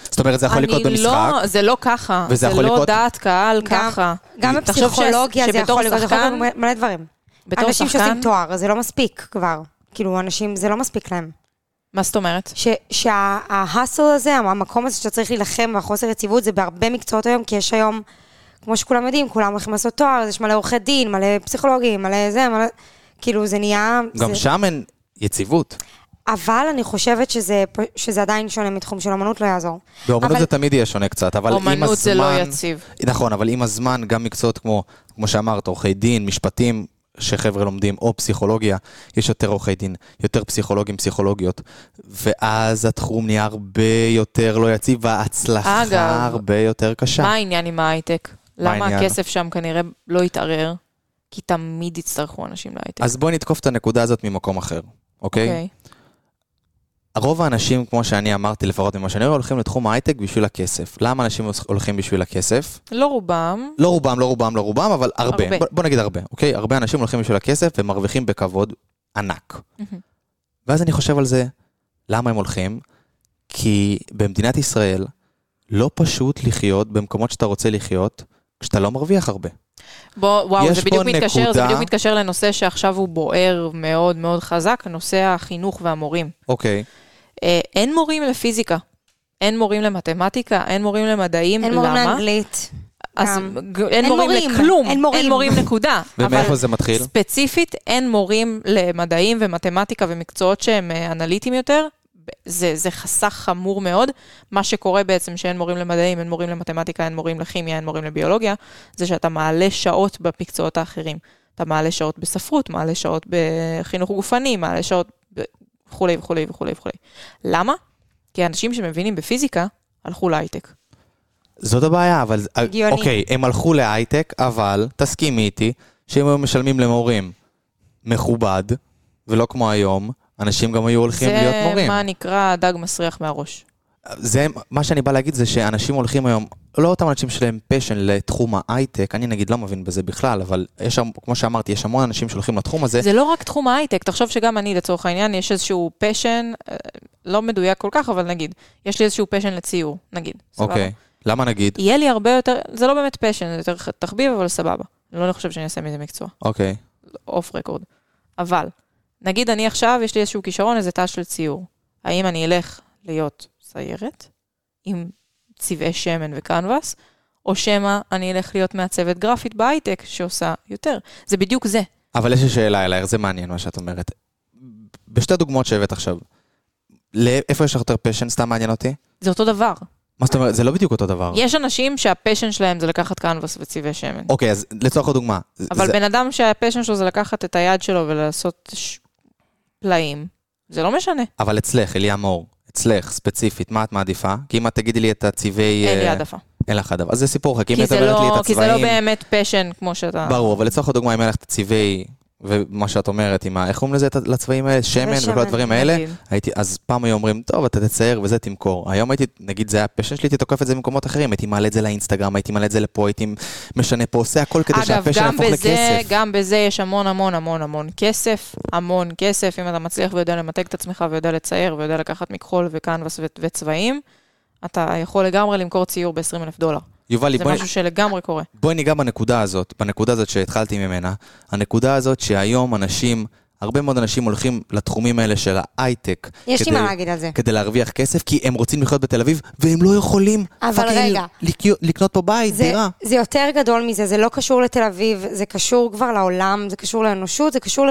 [SPEAKER 1] זאת אומרת, זה יכול
[SPEAKER 2] אני
[SPEAKER 1] לקרות במשחק.
[SPEAKER 2] לא, זה לא ככה.
[SPEAKER 1] וזה
[SPEAKER 2] זה
[SPEAKER 1] יכול
[SPEAKER 2] לא
[SPEAKER 1] לקרות-
[SPEAKER 2] דעת קהל
[SPEAKER 3] גם-
[SPEAKER 2] ככה.
[SPEAKER 3] גם
[SPEAKER 2] תחשוב
[SPEAKER 3] בפסיכולוגיה
[SPEAKER 2] ש-
[SPEAKER 3] זה
[SPEAKER 2] שבתור
[SPEAKER 3] יכול להיות, זה יכול
[SPEAKER 2] שחקן-
[SPEAKER 3] להיות מלא דברים.
[SPEAKER 2] בתור
[SPEAKER 3] אנשים
[SPEAKER 2] שחקן,
[SPEAKER 3] שעושים תואר, זה לא מספיק כבר. כאילו, אנשים, זה לא מספיק להם.
[SPEAKER 2] מה זאת אומרת?
[SPEAKER 3] שההאסל הזה, המקום הזה שאתה צריך להילחם והחוסר יציבות, זה בהרבה מקצועות היום, כי יש היום, כמו שכולם יודעים, כולם הולכים לעשות תואר, אז יש מלא עורכי דין, מלא פסיכולוגים, מלא זה, מלא... כאילו, זה נהיה...
[SPEAKER 1] גם
[SPEAKER 3] זה...
[SPEAKER 1] שם אין יציבות.
[SPEAKER 3] אבל אני חושבת שזה, פ- שזה עדיין שונה מתחום של אמנות, לא יעזור.
[SPEAKER 1] באומנות
[SPEAKER 3] אבל-
[SPEAKER 1] זה תמיד יהיה שונה קצת, אבל עם הזמן...
[SPEAKER 2] אומנות זה לא יציב.
[SPEAKER 1] נכון, אבל עם הזמן, גם מקצועות כמו, כמו שאמרת, עורכי דין, משפטים, שחבר'ה לומדים, או פסיכולוגיה, יש יותר עורכי דין, יותר פסיכולוגים, פסיכולוגיות, ואז התחום נהיה הרבה יותר לא יציב, וההצלחה
[SPEAKER 2] אגב,
[SPEAKER 1] הרבה יותר קשה.
[SPEAKER 2] מה העניין עם ההייטק? למה
[SPEAKER 1] העניין?
[SPEAKER 2] הכסף שם כנראה לא יתערער? כי תמיד יצטרכו אנשים להייטק.
[SPEAKER 1] אז בואי נתקוף את הנקודה הזאת ממקום אחר, אוקיי?
[SPEAKER 2] אוקיי.
[SPEAKER 1] רוב האנשים, כמו שאני אמרתי, לפחות ממה שאני רואה, הולכים לתחום ההייטק בשביל הכסף. למה אנשים הולכים בשביל הכסף?
[SPEAKER 2] לא רובם,
[SPEAKER 1] לא רובם, לא רובם, לא רובם, אבל הרבה.
[SPEAKER 2] הרבה.
[SPEAKER 1] הרבה. בוא, בוא נגיד הרבה, אוקיי? הרבה אנשים הולכים בשביל הכסף ומרוויחים בכבוד ענק.
[SPEAKER 2] מהמם.
[SPEAKER 1] ואז אני חושב על זה, למה הם הולכים? כי במדינת ישראל לא פשוט לחיות במקומות שאתה רוצה לחיות, כשאתה לא מרוויח הרבה.
[SPEAKER 2] בוא, וואו,
[SPEAKER 1] יש
[SPEAKER 2] זה בדיוק
[SPEAKER 1] פה
[SPEAKER 2] מתקשר, זה
[SPEAKER 1] נקודה-
[SPEAKER 2] בדיוק מתקשר לנושא שעכשיו הוא בוער מאוד מאוד חזק, נושא החינוך והמורים.
[SPEAKER 1] אוקיי.
[SPEAKER 2] אה, אין מורים לפיזיקה, אין מורים למתמטיקה, אין מורים למדעים,
[SPEAKER 3] אין
[SPEAKER 2] למה?
[SPEAKER 3] מורים לאנגלית.
[SPEAKER 2] אז
[SPEAKER 3] גם.
[SPEAKER 2] ג- אין
[SPEAKER 3] אין
[SPEAKER 2] מורים
[SPEAKER 3] מורים,
[SPEAKER 2] לכלום,
[SPEAKER 3] אין מורים.
[SPEAKER 2] אין מורים נקודה.
[SPEAKER 1] ומאיפה
[SPEAKER 2] אבל
[SPEAKER 1] זה מתחיל?
[SPEAKER 2] ספציפית, אין מורים למדעים ומתמטיקה ומקצועות שהם אה, אנליטיים יותר. ב- זה, זה חסך חמור מאוד. מה שקורה בעצם שאין מורים למדעים, אין מורים למתמטיקה, אין מורים לכימיה, אין מורים לביולוגיה, זה שאתה מעלה שעות במקצועות האחרים. אתה מעלה שעות בספרות, מעלה שעות בחינוך גופני, מעלה שעות ב- וכולי וכולי וכולי וכולי. למה? כי האנשים שמבינים בפיזיקה הלכו להייטק.
[SPEAKER 1] זאת הבעיה, אבל...
[SPEAKER 3] הגיוני.
[SPEAKER 1] אוקיי, הם הלכו להייטק, אבל תסכימי איתי שאם היו משלמים למורים מכובד, ולא כמו היום, אנשים גם היו הולכים להיות
[SPEAKER 2] זה
[SPEAKER 1] מורים.
[SPEAKER 2] מה נקרא דג מסריח מהראש.
[SPEAKER 1] זה, מה שאני בא להגיד זה שאנשים הולכים היום, לא אותם אנשים שלהם פשן לתחום ההייטק, אני נגיד לא מבין בזה בכלל, אבל יש, המ- כמו שאמרתי, יש המון אנשים שהולכים לתחום הזה.
[SPEAKER 2] זה לא רק תחום ההייטק, תחשוב שגם אני לצורך העניין, יש איזשהו פשן, אה, לא מדויק כל כך, אבל נגיד, יש לי איזשהו פשן לציור, נגיד, סבבה.
[SPEAKER 1] אוקיי, למה נגיד?
[SPEAKER 2] יהיה לי הרבה יותר, זה לא באמת פשן, זה יותר תחביב, אבל סבבה. לא חושב שאני אעשה מזה מקצוע,
[SPEAKER 1] אוקיי,
[SPEAKER 2] אוף רקורד. אבל, נגיד אני עכשיו, יש לי איזשהו כישרון, איזה תא של ציור. האם אני אלך להיות סיירת, עם צבעי שמן וקנבס, או שמא אני אלך להיות מעצבת גרפית בהייטק, שעושה יותר. זה בדיוק זה.
[SPEAKER 1] אבל יש לי שאלה אלייך, זה מעניין מה שאת אומרת. בשתי דוגמאות שהבאת עכשיו, לאיפה יש לך יותר פשן, סתם מעניין אותי?
[SPEAKER 2] זה אותו דבר.
[SPEAKER 1] מה זאת אומרת? זה לא בדיוק אותו דבר.
[SPEAKER 2] יש אנשים שהפשן שלהם זה לקחת קנבס וצבעי שמן.
[SPEAKER 1] אוקיי, אז לצורך הדוגמה, זה-
[SPEAKER 2] אבל
[SPEAKER 1] זה-
[SPEAKER 2] בן אדם שהפשן שלו זה לקחת את היד שלו ולעשות ש- פלאים, זה לא משנה.
[SPEAKER 1] אבל אצלך, אליה מור, אצלך, ספציפית, מה את מעדיפה? כי אם את תגידי לי את הצבעי...
[SPEAKER 2] אין לי
[SPEAKER 1] אה,
[SPEAKER 2] העדפה.
[SPEAKER 1] אין לך העדפה. אז זה סיפור אחר, כי אם
[SPEAKER 2] כי
[SPEAKER 1] את
[SPEAKER 2] זה
[SPEAKER 1] אומרת לי את
[SPEAKER 2] לא- כי זה לא
[SPEAKER 1] הצבעים...
[SPEAKER 2] באמת פשן כמו שאתה...
[SPEAKER 1] ברור, אבל לצורך הדוגמה, אם היה לך את הצבעי ומה שאת אומרת, עם ה... איך קוראים לזה את ה- לצבעים האלה? שמן
[SPEAKER 3] שמן,
[SPEAKER 1] וכל הדברים האלה.
[SPEAKER 2] נגיד.
[SPEAKER 1] הייתי, אז פעם היו אומרים, טוב, אתה תצייר וזה תמכור. היום הייתי, נגיד זה היה הפשן שלי, הייתי תוקף את זה במקומות אחרים. הייתי מעלה את זה לאינסטגרם, הייתי מעלה את זה לפה, הייתי משנה פה, עושה הכל כדי
[SPEAKER 2] אגב,
[SPEAKER 1] שהפשן
[SPEAKER 2] גם
[SPEAKER 1] יהפוך
[SPEAKER 2] בזה,
[SPEAKER 1] לכסף.
[SPEAKER 2] גם בזה יש המון המון המון המון כסף, המון כסף, אם אתה מצליח ויודע למתג את עצמך ויודע לצייר ויודע לקחת מכחול וקנבס ו- וצבעים, אתה יכול לגמרי למכור ציור ב-20 אלף דולר.
[SPEAKER 1] יובלי,
[SPEAKER 2] זה
[SPEAKER 1] בואי-
[SPEAKER 2] משהו שלגמרי קורה.
[SPEAKER 1] בואי ניגע בנקודה הזאת, בנקודה הזאת שהתחלתי ממנה. הנקודה הזאת שהיום אנשים, הרבה מאוד אנשים הולכים לתחומים האלה של ההייטק.
[SPEAKER 3] יש לי
[SPEAKER 1] כדי-
[SPEAKER 3] מה להגיד על זה.
[SPEAKER 1] כדי להרוויח כסף, כי הם רוצים לחיות בתל אביב, והם לא יכולים
[SPEAKER 3] אבל
[SPEAKER 1] פאקינג
[SPEAKER 3] רגע.
[SPEAKER 1] לקיו- לקנות פה בית,
[SPEAKER 3] זה,
[SPEAKER 1] דירה.
[SPEAKER 3] זה יותר גדול מזה, זה לא קשור לתל אביב, זה קשור כבר לעולם, זה קשור לאנושות, זה קשור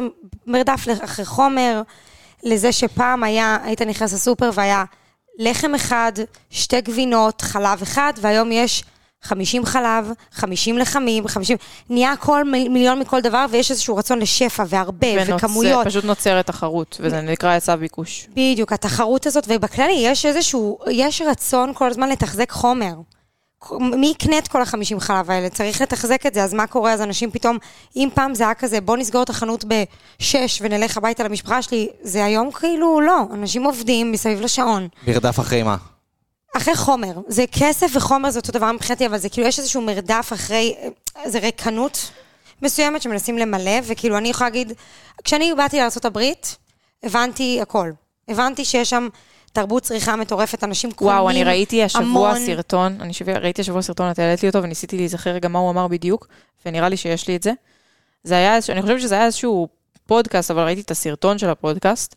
[SPEAKER 3] למרדף אחרי חומר, לזה שפעם היה, היית נכנס לסופר והיה לחם אחד, שתי גבינות, חלב אחד, והיום יש 50 חלב, 50 לחמים, 50... נהיה הכל מ- מיליון מכל דבר, ויש איזשהו רצון לשפע והרבה,
[SPEAKER 2] ונוצר-
[SPEAKER 3] וכמויות.
[SPEAKER 2] פשוט נוצרת תחרות, וזה נקרא היצע ביקוש.
[SPEAKER 3] בדיוק, התחרות הזאת, ובכללי יש איזשהו, יש רצון כל הזמן לתחזק חומר. מי יקנה את כל החמישים חלב האלה? צריך לתחזק את זה, אז מה קורה? אז אנשים פתאום, אם פעם זה היה כזה, בוא נסגור את החנות בשש ונלך הביתה למשפחה שלי, זה היום כאילו לא, אנשים עובדים מסביב לשעון.
[SPEAKER 1] מרדף אחרי מה?
[SPEAKER 3] אחרי חומר, זה כסף וחומר זה אותו דבר מבחינתי, אבל זה כאילו, יש איזשהו מרדף אחרי, זה ריקנות מסוימת שמנסים למלא, וכאילו, אני יכולה להגיד, כשאני באתי לארה"ב, הבנתי הכל. הבנתי שיש שם תרבות צריכה מטורפת, אנשים קונים
[SPEAKER 2] וואו, אני ראיתי השבוע
[SPEAKER 3] המון...
[SPEAKER 2] סרטון, אני שב... ראיתי השבוע סרטון, את העלית לי אותו, וניסיתי להיזכר רגע מה הוא אמר בדיוק, ונראה לי שיש לי את זה. זה היה, איזשהו- אני חושבת שזה היה איזשהו פודקאסט, אבל ראיתי את הסרטון של הפודקאסט,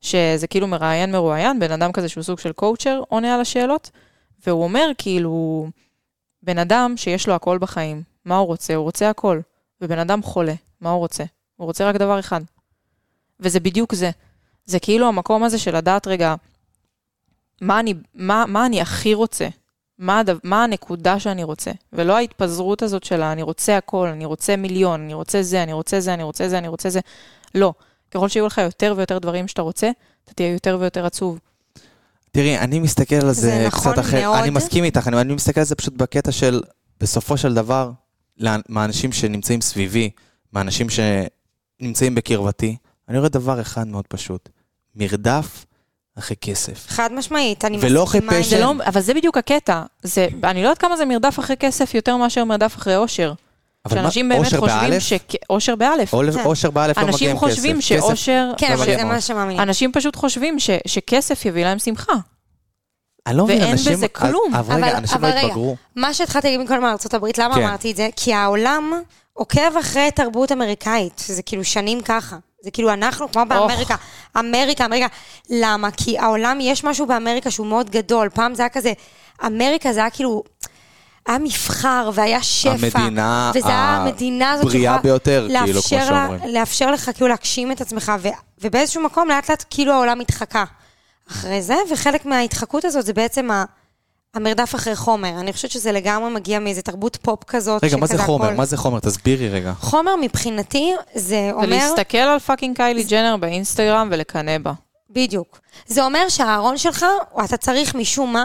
[SPEAKER 2] שזה כאילו מראיין מרואיין, בן אדם כזה שהוא סוג של קואוצ'ר עונה על השאלות, והוא אומר כאילו, בן אדם שיש לו הכל בחיים, מה הוא רוצה? הוא רוצה הכל. ובן אדם חולה, מה הוא רוצה? הוא רוצה רק דבר אחד. וזה בדיוק זה. זה כאילו המקום הזה של לדעת רגע, מה אני, מה, מה אני הכי רוצה? מה, הדו, מה הנקודה שאני רוצה? ולא ההתפזרות הזאת של אני רוצה הכל, אני רוצה מיליון, אני רוצה זה, אני רוצה זה, אני רוצה זה, אני רוצה זה. לא. ככל שיהיו לך יותר ויותר דברים שאתה רוצה, אתה תהיה יותר ויותר עצוב.
[SPEAKER 1] תראי, אני מסתכל על זה,
[SPEAKER 3] זה
[SPEAKER 1] קצת
[SPEAKER 3] נכון
[SPEAKER 1] אחר.
[SPEAKER 3] מאוד.
[SPEAKER 1] אני מסכים איתך, אני, אני מסתכל על זה פשוט בקטע של, בסופו של דבר, לאן- מהאנשים שנמצאים סביבי, מהאנשים שנמצאים בקרבתי, אני רואה דבר אחד מאוד פשוט, מרדף אחרי כסף.
[SPEAKER 3] חד משמעית, אני
[SPEAKER 1] ולא
[SPEAKER 3] מסכימה
[SPEAKER 1] אחרי
[SPEAKER 3] עם
[SPEAKER 1] פשע.
[SPEAKER 2] זה
[SPEAKER 1] כן.
[SPEAKER 2] לא, אבל זה בדיוק הקטע. זה, אני לא יודעת כמה זה מרדף אחרי כסף יותר מאשר מרדף אחרי אושר.
[SPEAKER 1] אבל מה,
[SPEAKER 2] שאנשים באמת
[SPEAKER 1] אושר
[SPEAKER 2] חושבים
[SPEAKER 1] באלף?
[SPEAKER 2] ש... אושר באלף.
[SPEAKER 1] אול-
[SPEAKER 3] כן.
[SPEAKER 1] אושר באלף לא מגיע עם כסף.
[SPEAKER 2] אנשים חושבים
[SPEAKER 1] כסף-
[SPEAKER 2] שאושר...
[SPEAKER 3] כן,
[SPEAKER 1] לא
[SPEAKER 3] אבל
[SPEAKER 1] מגיע
[SPEAKER 3] זה
[SPEAKER 1] מאוד.
[SPEAKER 3] מה שמאמינים.
[SPEAKER 2] אנשים פשוט חושבים ש, שכסף יביא להם שמחה.
[SPEAKER 1] אני לא מבין,
[SPEAKER 2] ואין
[SPEAKER 1] אנשים-
[SPEAKER 2] בזה כלום.
[SPEAKER 1] אבל רגע, אנשים לא
[SPEAKER 3] אבל רגע,
[SPEAKER 1] התבגרו.
[SPEAKER 3] מה שהתחלתי להגיד מקודם על ארה"ב, למה
[SPEAKER 1] כן.
[SPEAKER 3] אמרתי את זה? כי העולם עוקב אחרי תרבות אמריקאית, זה כאילו שנים ככה. זה כאילו אנחנו, כמו באמריקה, אמריקה, אמריקה. למה? כי העולם, יש משהו באמריקה שהוא מאוד גדול. פעם זה היה כזה, אמריקה זה היה כאילו, היה מבחר והיה שפע.
[SPEAKER 1] המדינה
[SPEAKER 3] וזה היה המדינה הזאת
[SPEAKER 1] הבריאה
[SPEAKER 3] שיכולה
[SPEAKER 1] ביותר, כאילו, כמו
[SPEAKER 3] לאפשר לה-
[SPEAKER 1] שאומרים.
[SPEAKER 3] לאפשר לך כאילו להגשים את עצמך, ו- ובאיזשהו מקום לאט לאט כאילו העולם התחקה אחרי זה, וחלק מההתחקות הזאת זה בעצם ה... המרדף אחרי חומר. אני חושבת שזה לגמרי מגיע מאיזה תרבות פופ כזאת.
[SPEAKER 1] רגע, מה זה
[SPEAKER 3] שכזה
[SPEAKER 1] חומר?
[SPEAKER 3] הכל-
[SPEAKER 1] מה זה חומר? תסבירי רגע.
[SPEAKER 3] חומר מבחינתי זה
[SPEAKER 2] זה
[SPEAKER 3] אומר...
[SPEAKER 2] להסתכל על פאקינג קיילי ג'נר באינסטגרם ולקנא בה.
[SPEAKER 3] בדיוק. זה אומר שהארון שלך, או אתה צריך משום מה,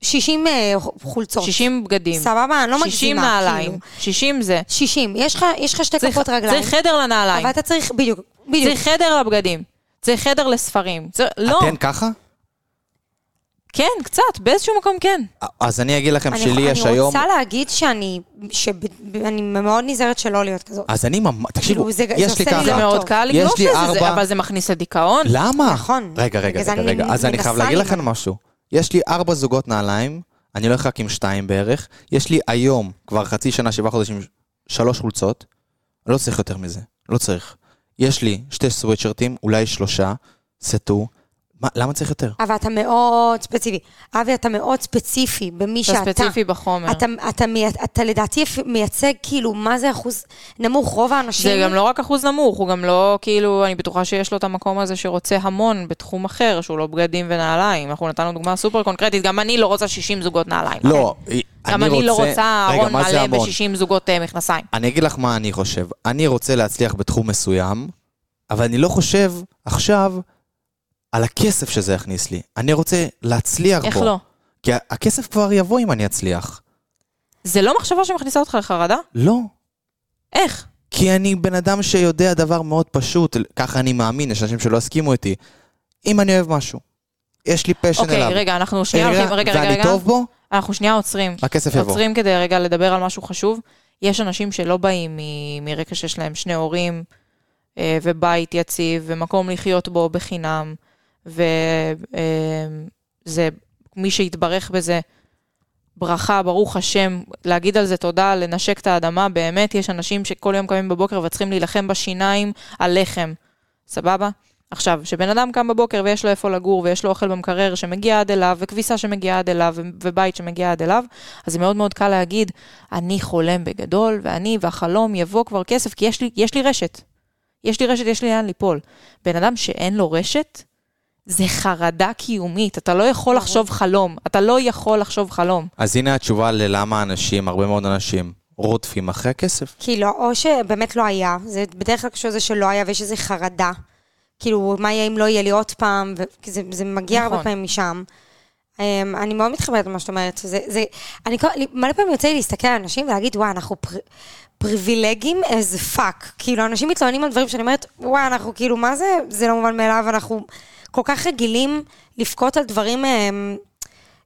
[SPEAKER 3] 60 אה, חולצות.
[SPEAKER 2] 60 בגדים.
[SPEAKER 3] סבבה? אני לא
[SPEAKER 2] 60
[SPEAKER 3] מגזימה,
[SPEAKER 2] נעליים.
[SPEAKER 3] כאילו.
[SPEAKER 2] 60 זה.
[SPEAKER 3] 60. יש לך, יש לך שתי
[SPEAKER 2] צריך-
[SPEAKER 3] כפות רגליים.
[SPEAKER 2] צריך חדר לנעליים.
[SPEAKER 3] אבל אתה צריך, בדיוק, בדיוק.
[SPEAKER 2] צריך חדר לבגדים. צריך חדר לספרים. צריך- לא.
[SPEAKER 1] אתן ככה?
[SPEAKER 2] כן, קצת, באיזשהו מקום כן.
[SPEAKER 1] אז אני אגיד לכם
[SPEAKER 3] אני-
[SPEAKER 1] שלי יש
[SPEAKER 3] אני
[SPEAKER 1] היום...
[SPEAKER 3] רוצה להגיד שאני, שאני מאוד נזהרת שלא להיות כזאת.
[SPEAKER 1] אז אני ממש... תקשיבו,
[SPEAKER 3] כאילו, זה- זה
[SPEAKER 1] יש
[SPEAKER 3] עושה
[SPEAKER 1] לי
[SPEAKER 3] לי
[SPEAKER 1] ככה.
[SPEAKER 2] זה
[SPEAKER 3] לא
[SPEAKER 2] מאוד
[SPEAKER 3] טוב.
[SPEAKER 2] קל
[SPEAKER 1] יש
[SPEAKER 2] לגלוש
[SPEAKER 1] לי
[SPEAKER 2] לזה, זה-
[SPEAKER 1] ארבע- לא.
[SPEAKER 2] אבל זה מכניס לדיכאון.
[SPEAKER 1] למה?
[SPEAKER 3] נכון.
[SPEAKER 1] רגע, רגע,
[SPEAKER 3] בגלל זה
[SPEAKER 1] רגע,
[SPEAKER 3] אני
[SPEAKER 1] רגע. אז אני
[SPEAKER 3] מנסה
[SPEAKER 1] חייב להגיד
[SPEAKER 3] להימנע.
[SPEAKER 1] לכם משהו. יש לי ארבע זוגות נעליים, אני הולך רק עם שתיים בערך. יש לי היום, כבר חצי שנה, שבעה חודשים, שלוש חולצות. לא צריך יותר מזה, לא צריך. יש לי שתי סוואטשרטים, אולי שלושה, סטו. מה- למה צריך יותר?
[SPEAKER 3] אבל אתה מאוד ספציפי. אבי, אתה מאוד ספציפי במי
[SPEAKER 2] אתה
[SPEAKER 3] שאתה.
[SPEAKER 2] ספציפי בחומר.
[SPEAKER 3] אתה, אתה, מי- אתה לדעתי אפ- מייצג כאילו מה זה אחוז נמוך, רוב האנשים...
[SPEAKER 2] זה גם לא רק אחוז נמוך, הוא גם לא, כאילו, אני בטוחה שיש לו את המקום הזה שרוצה המון בתחום אחר, שהוא לא בגדים ונעליים. אנחנו נתנו דוגמה סופר קונקרטית, גם אני לא רוצה 60 זוגות נעליים. אוקיי?
[SPEAKER 1] לא,
[SPEAKER 2] גם אני לא
[SPEAKER 1] רוצה-
[SPEAKER 2] רוצה
[SPEAKER 1] רגע,
[SPEAKER 2] ארון
[SPEAKER 1] מה זה
[SPEAKER 2] מלא
[SPEAKER 1] המון?
[SPEAKER 2] ב-60 זוגות אה, מכנסיים.
[SPEAKER 1] אני אגיד לך מה אני חושב. אני רוצה להצליח בתחום מסוים, אבל אני לא חושב עכשיו על הכסף שזה יכניס לי. אני רוצה להצליח
[SPEAKER 2] איך
[SPEAKER 1] בו.
[SPEAKER 2] לא?
[SPEAKER 1] כי ה- הכסף כבר יבוא אם אני אצליח.
[SPEAKER 2] זה לא מחשבה שמכניסה אותך לחרדה?
[SPEAKER 1] לא.
[SPEAKER 2] איך?
[SPEAKER 1] כי אני בן אדם שיודע דבר מאוד פשוט, ככה אני מאמין, יש אנשים שלא יסכימו איתי. אם אני אוהב משהו, יש לי פשן
[SPEAKER 2] אוקיי,
[SPEAKER 1] אליו.
[SPEAKER 2] רגע, אנחנו שנייה
[SPEAKER 1] רגע,
[SPEAKER 2] הולכים, רגע, רגע,
[SPEAKER 1] ואני
[SPEAKER 2] רגע.
[SPEAKER 1] טוב בו,
[SPEAKER 2] אנחנו שנייה עוצרים.
[SPEAKER 1] הכסף יבוא.
[SPEAKER 2] עוצרים כדי רגע לדבר על משהו חשוב. יש אנשים שלא באים מ- מרקע שיש להם שני הורים, אה, ובית יציב, ומקום לחיות בו בחינם, וזה, מי שיתברך בזה, ברכה, ברוך השם, להגיד על זה תודה, לנשק את האדמה, באמת, יש אנשים שכל יום קמים בבוקר וצריכים להילחם בשיניים על לחם, סבבה? עכשיו, כשבן אדם קם בבוקר ויש לו איפה לגור, ויש לו אוכל במקרר שמגיע עד אליו, וכביסה שמגיעה עד אליו, ו- ובית שמגיע עד אליו, אז זה מאוד מאוד קל להגיד, אני חולם בגדול, ואני והחלום יבוא כבר כסף, כי יש לי, יש לי רשת. יש לי רשת, יש לי לאן ליפול. בן אדם שאין לו רשת, זה חרדה קיומית. אתה לא יכול
[SPEAKER 3] ברור.
[SPEAKER 2] לחשוב חלום. אתה לא יכול לחשוב חלום.
[SPEAKER 1] אז הנה התשובה ללמה אנשים, הרבה מאוד אנשים, רודפים אחרי הכסף.
[SPEAKER 3] כי לא, או שבאמת לא היה, זה בדרך כלל קשור לזה שלא היה ויש איזו חרדה. כאילו, מה יהיה אם לא יהיה לי עוד פעם, ו- כי זה, זה מגיע נכון.
[SPEAKER 2] נכון.
[SPEAKER 3] הרבה פעמים משם. אמ, אני מאוד מתחברת למה שאת אומרת. זה, זה, אני כל, לי- מלא פעמים יוצא לי להסתכל על אנשים ולהגיד, וואי, אנחנו פר, פריבילגים as fuck. כאילו, אנשים מתלוננים על דברים שאני אומרת, וואי, אנחנו כאילו, מה זה? זה לא מובן מאליו, אנחנו כל כך רגילים לבכות על דברים... אמ,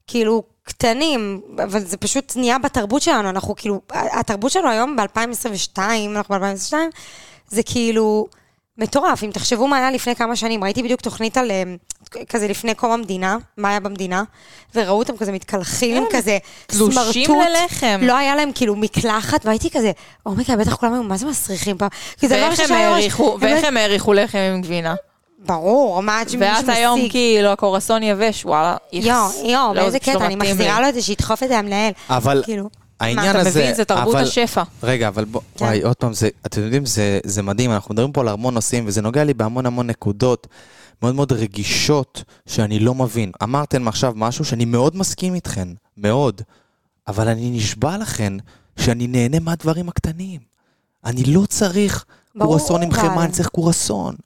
[SPEAKER 3] כאילו קטנים, אבל זה פשוט נהיה בתרבות שלנו, אנחנו כאילו, התרבות שלנו היום ב-2022, אנחנו ב-2022, זה כאילו מטורף, אם תחשבו מה היה לפני כמה שנים, ראיתי בדיוק תוכנית על, אה, כזה לפני קום המדינה, מה היה במדינה, וראו אותם כזה מתקלחים, כזה
[SPEAKER 2] תלושים
[SPEAKER 3] סמרטוט,
[SPEAKER 2] כן, ללחם.
[SPEAKER 3] לא היה להם כאילו מקלחת, והייתי כזה, אומייגה, בטח כולם היו, מה זה מסריחים פה? כי זה לא דבר
[SPEAKER 2] ואיך הם
[SPEAKER 3] שהיה ממש-
[SPEAKER 2] העריכו-
[SPEAKER 3] באמת-
[SPEAKER 2] ואיך הם העריכו לחם עם גבינה?
[SPEAKER 3] ברור, מה את
[SPEAKER 2] ואת היום
[SPEAKER 3] משיג?
[SPEAKER 2] כאילו הקורסון יבש, וואלה. איכס.
[SPEAKER 3] יואו, יואו,
[SPEAKER 2] לא,
[SPEAKER 3] באיזה
[SPEAKER 2] זה פשוט לא
[SPEAKER 3] קטע, אני
[SPEAKER 2] מתאים
[SPEAKER 3] מחזירה
[SPEAKER 2] לי.
[SPEAKER 3] לו את זה, שידחוף את זה המנהל.
[SPEAKER 1] אבל
[SPEAKER 3] כאילו,
[SPEAKER 1] העניין
[SPEAKER 2] אתה
[SPEAKER 1] הזה...
[SPEAKER 2] מבין, זה תרבות
[SPEAKER 1] אבל-
[SPEAKER 2] השפע.
[SPEAKER 1] רגע, אבל בוא,
[SPEAKER 3] כן.
[SPEAKER 1] וואי, עוד פעם, זה, אתם יודעים, זה, זה מדהים, אנחנו מדברים פה על המון נושאים, וזה נוגע לי בהמון המון נקודות מאוד מאוד רגישות שאני לא מבין. אמרתם עכשיו משהו שאני מאוד מסכים איתכן, מאוד, אבל אני נשבע לכן שאני נהנה מהדברים הקטנים. אני לא צריך
[SPEAKER 3] ברור,
[SPEAKER 1] קורסון עם
[SPEAKER 3] אבל.
[SPEAKER 1] חמאה, אני צריך קורסון.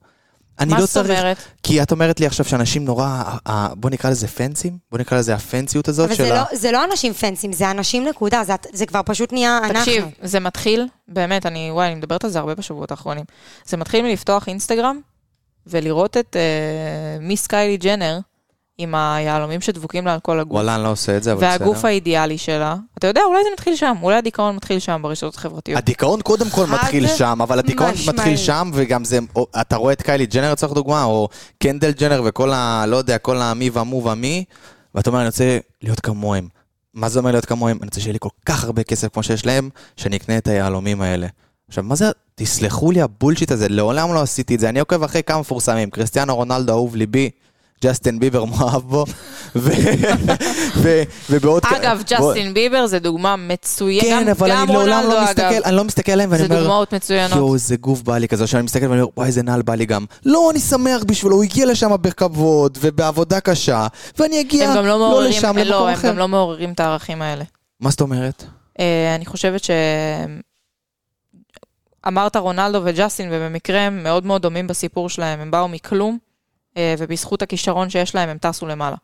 [SPEAKER 1] אני
[SPEAKER 2] מה
[SPEAKER 1] לא
[SPEAKER 2] זאת
[SPEAKER 1] צריך...
[SPEAKER 2] אומרת?
[SPEAKER 1] כי את אומרת לי עכשיו שאנשים נורא, אה, אה, בוא נקרא לזה פנסים? בוא נקרא לזה הפנסיות הזאת
[SPEAKER 3] אבל
[SPEAKER 1] של
[SPEAKER 3] זה,
[SPEAKER 1] ה...
[SPEAKER 3] לא, זה לא אנשים פנסים, זה אנשים נקודה, זה, זה כבר פשוט נהיה אנחנו.
[SPEAKER 2] תקשיב, זה מתחיל, באמת, אני, וואי, אני מדברת על זה הרבה בשבועות האחרונים. זה מתחיל מלפתוח אינסטגרם ולראות את אה, מיס קיילי ג'נר עם היהלומים שדבוקים לה על כל הגוף.
[SPEAKER 1] וואלה, אני לא עושה את זה, אבל בסדר.
[SPEAKER 2] והגוף האידיאלי שלה, אתה יודע, אולי זה מתחיל שם, אולי הדיכאון מתחיל שם ברשתות החברתיות.
[SPEAKER 1] הדיכאון קודם כל
[SPEAKER 3] חד
[SPEAKER 1] מתחיל שם, אבל הדיכאון
[SPEAKER 3] משמעית.
[SPEAKER 1] מתחיל שם, וגם זה, או, אתה רואה את קיילי ג'נר לצורך דוגמה, או קנדל ג'נר וכל ה... לא יודע, כל המי והמו והמי, ואתה אומר, אני רוצה להיות כמוהם. מה זה אומר להיות כמוהם? אני רוצה שיהיה לי כל כך הרבה כסף כמו שיש להם, שאני אקנה את היהלומים האלה. עכשיו, מה זה, תסלחו לי הבולשיט הזה, לעולם לא עשיתי את זה. אני עוקב אחרי כמה מפורסמים, קריסטיאנו רונלדו אהוב ליבי, ג'סטין ביבר מואב בו, ו... ו... ובעוד... כ-
[SPEAKER 2] אגב,
[SPEAKER 1] בוא-
[SPEAKER 2] ג'סטין ביבר זה דוגמה מצוינת.
[SPEAKER 1] אוקיי, כן,
[SPEAKER 2] גם-
[SPEAKER 1] אבל
[SPEAKER 2] גם
[SPEAKER 1] אני לעולם
[SPEAKER 2] רונלדו,
[SPEAKER 1] לא
[SPEAKER 2] אגב.
[SPEAKER 1] מסתכל, אני לא מסתכל עליהם ואני
[SPEAKER 2] זה
[SPEAKER 1] אומר...
[SPEAKER 2] דוגמאות מצוינות.
[SPEAKER 1] יואו, איזה גוף בא לי כזה, עכשיו אני מסתכל ואני אומר, וואי, איזה נעל בא לי גם. לא, אני שמח בשבילו, הוא הגיע לשם בכבוד ובעבודה קשה, ואני אגיע
[SPEAKER 2] הם גם לא
[SPEAKER 1] לא
[SPEAKER 2] מעוררים,
[SPEAKER 1] לשם,
[SPEAKER 2] לא,
[SPEAKER 1] למקום
[SPEAKER 2] הם
[SPEAKER 1] אחר.
[SPEAKER 2] גם לא מעוררים את הערכים האלה.
[SPEAKER 1] מה זאת אומרת?
[SPEAKER 2] אה, אני חושבת ש... אמרת רונלדו וג'סטין, ובמקרה הם מאוד מאוד דומים בסיפור שלהם. הם באו מכלום, אה, ובזכות הכישרון שיש להם הם טסו למעלה.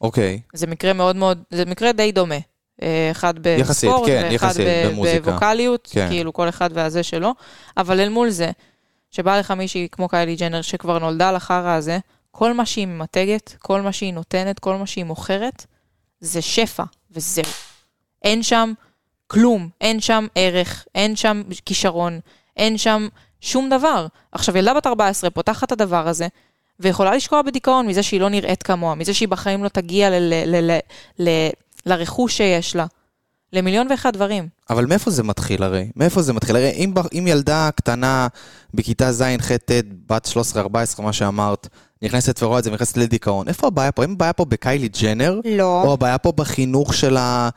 [SPEAKER 1] אוקיי.
[SPEAKER 2] זה מקרה מאוד מאוד, זה מקרה די דומה. אה, אחד בספורט,
[SPEAKER 1] יחסית, כן,
[SPEAKER 2] ואחד
[SPEAKER 1] יחסית,
[SPEAKER 2] ב-
[SPEAKER 1] במוזיקה.
[SPEAKER 2] בווקאליות,
[SPEAKER 1] כן.
[SPEAKER 2] כן. כאילו כל אחד והזה שלו. אבל אל מול זה, שבא לך מישהי כמו קיילי ג'נר, שכבר נולדה לחרא הזה, כל מה שהיא ממתגת, כל מה שהיא נותנת, כל מה שהיא מוכרת, זה שפע, וזהו. אין שם כלום, אין שם ערך, אין שם כישרון, אין שם שום דבר. עכשיו, ילדה בת 14 פותחת את הדבר הזה, ויכולה לשקוע בדיכאון מזה שהיא לא נראית כמוה, מזה שהיא בחיים לא תגיע ל- ל- ל- ל- ל- לרכוש שיש לה, למיליון ואחד דברים.
[SPEAKER 1] אבל מאיפה זה מתחיל הרי? מאיפה זה מתחיל? הרי אם, ב- אם ילדה קטנה בכיתה ז', ח', ט', בת 13-14, מה שאמרת, נכנסת ורואה את זה, נכנסת לדיכאון, איפה הבעיה פה? האם הבעיה פה בקיילי ג'נר?
[SPEAKER 3] לא.
[SPEAKER 1] או הבעיה פה בחינוך של, ה...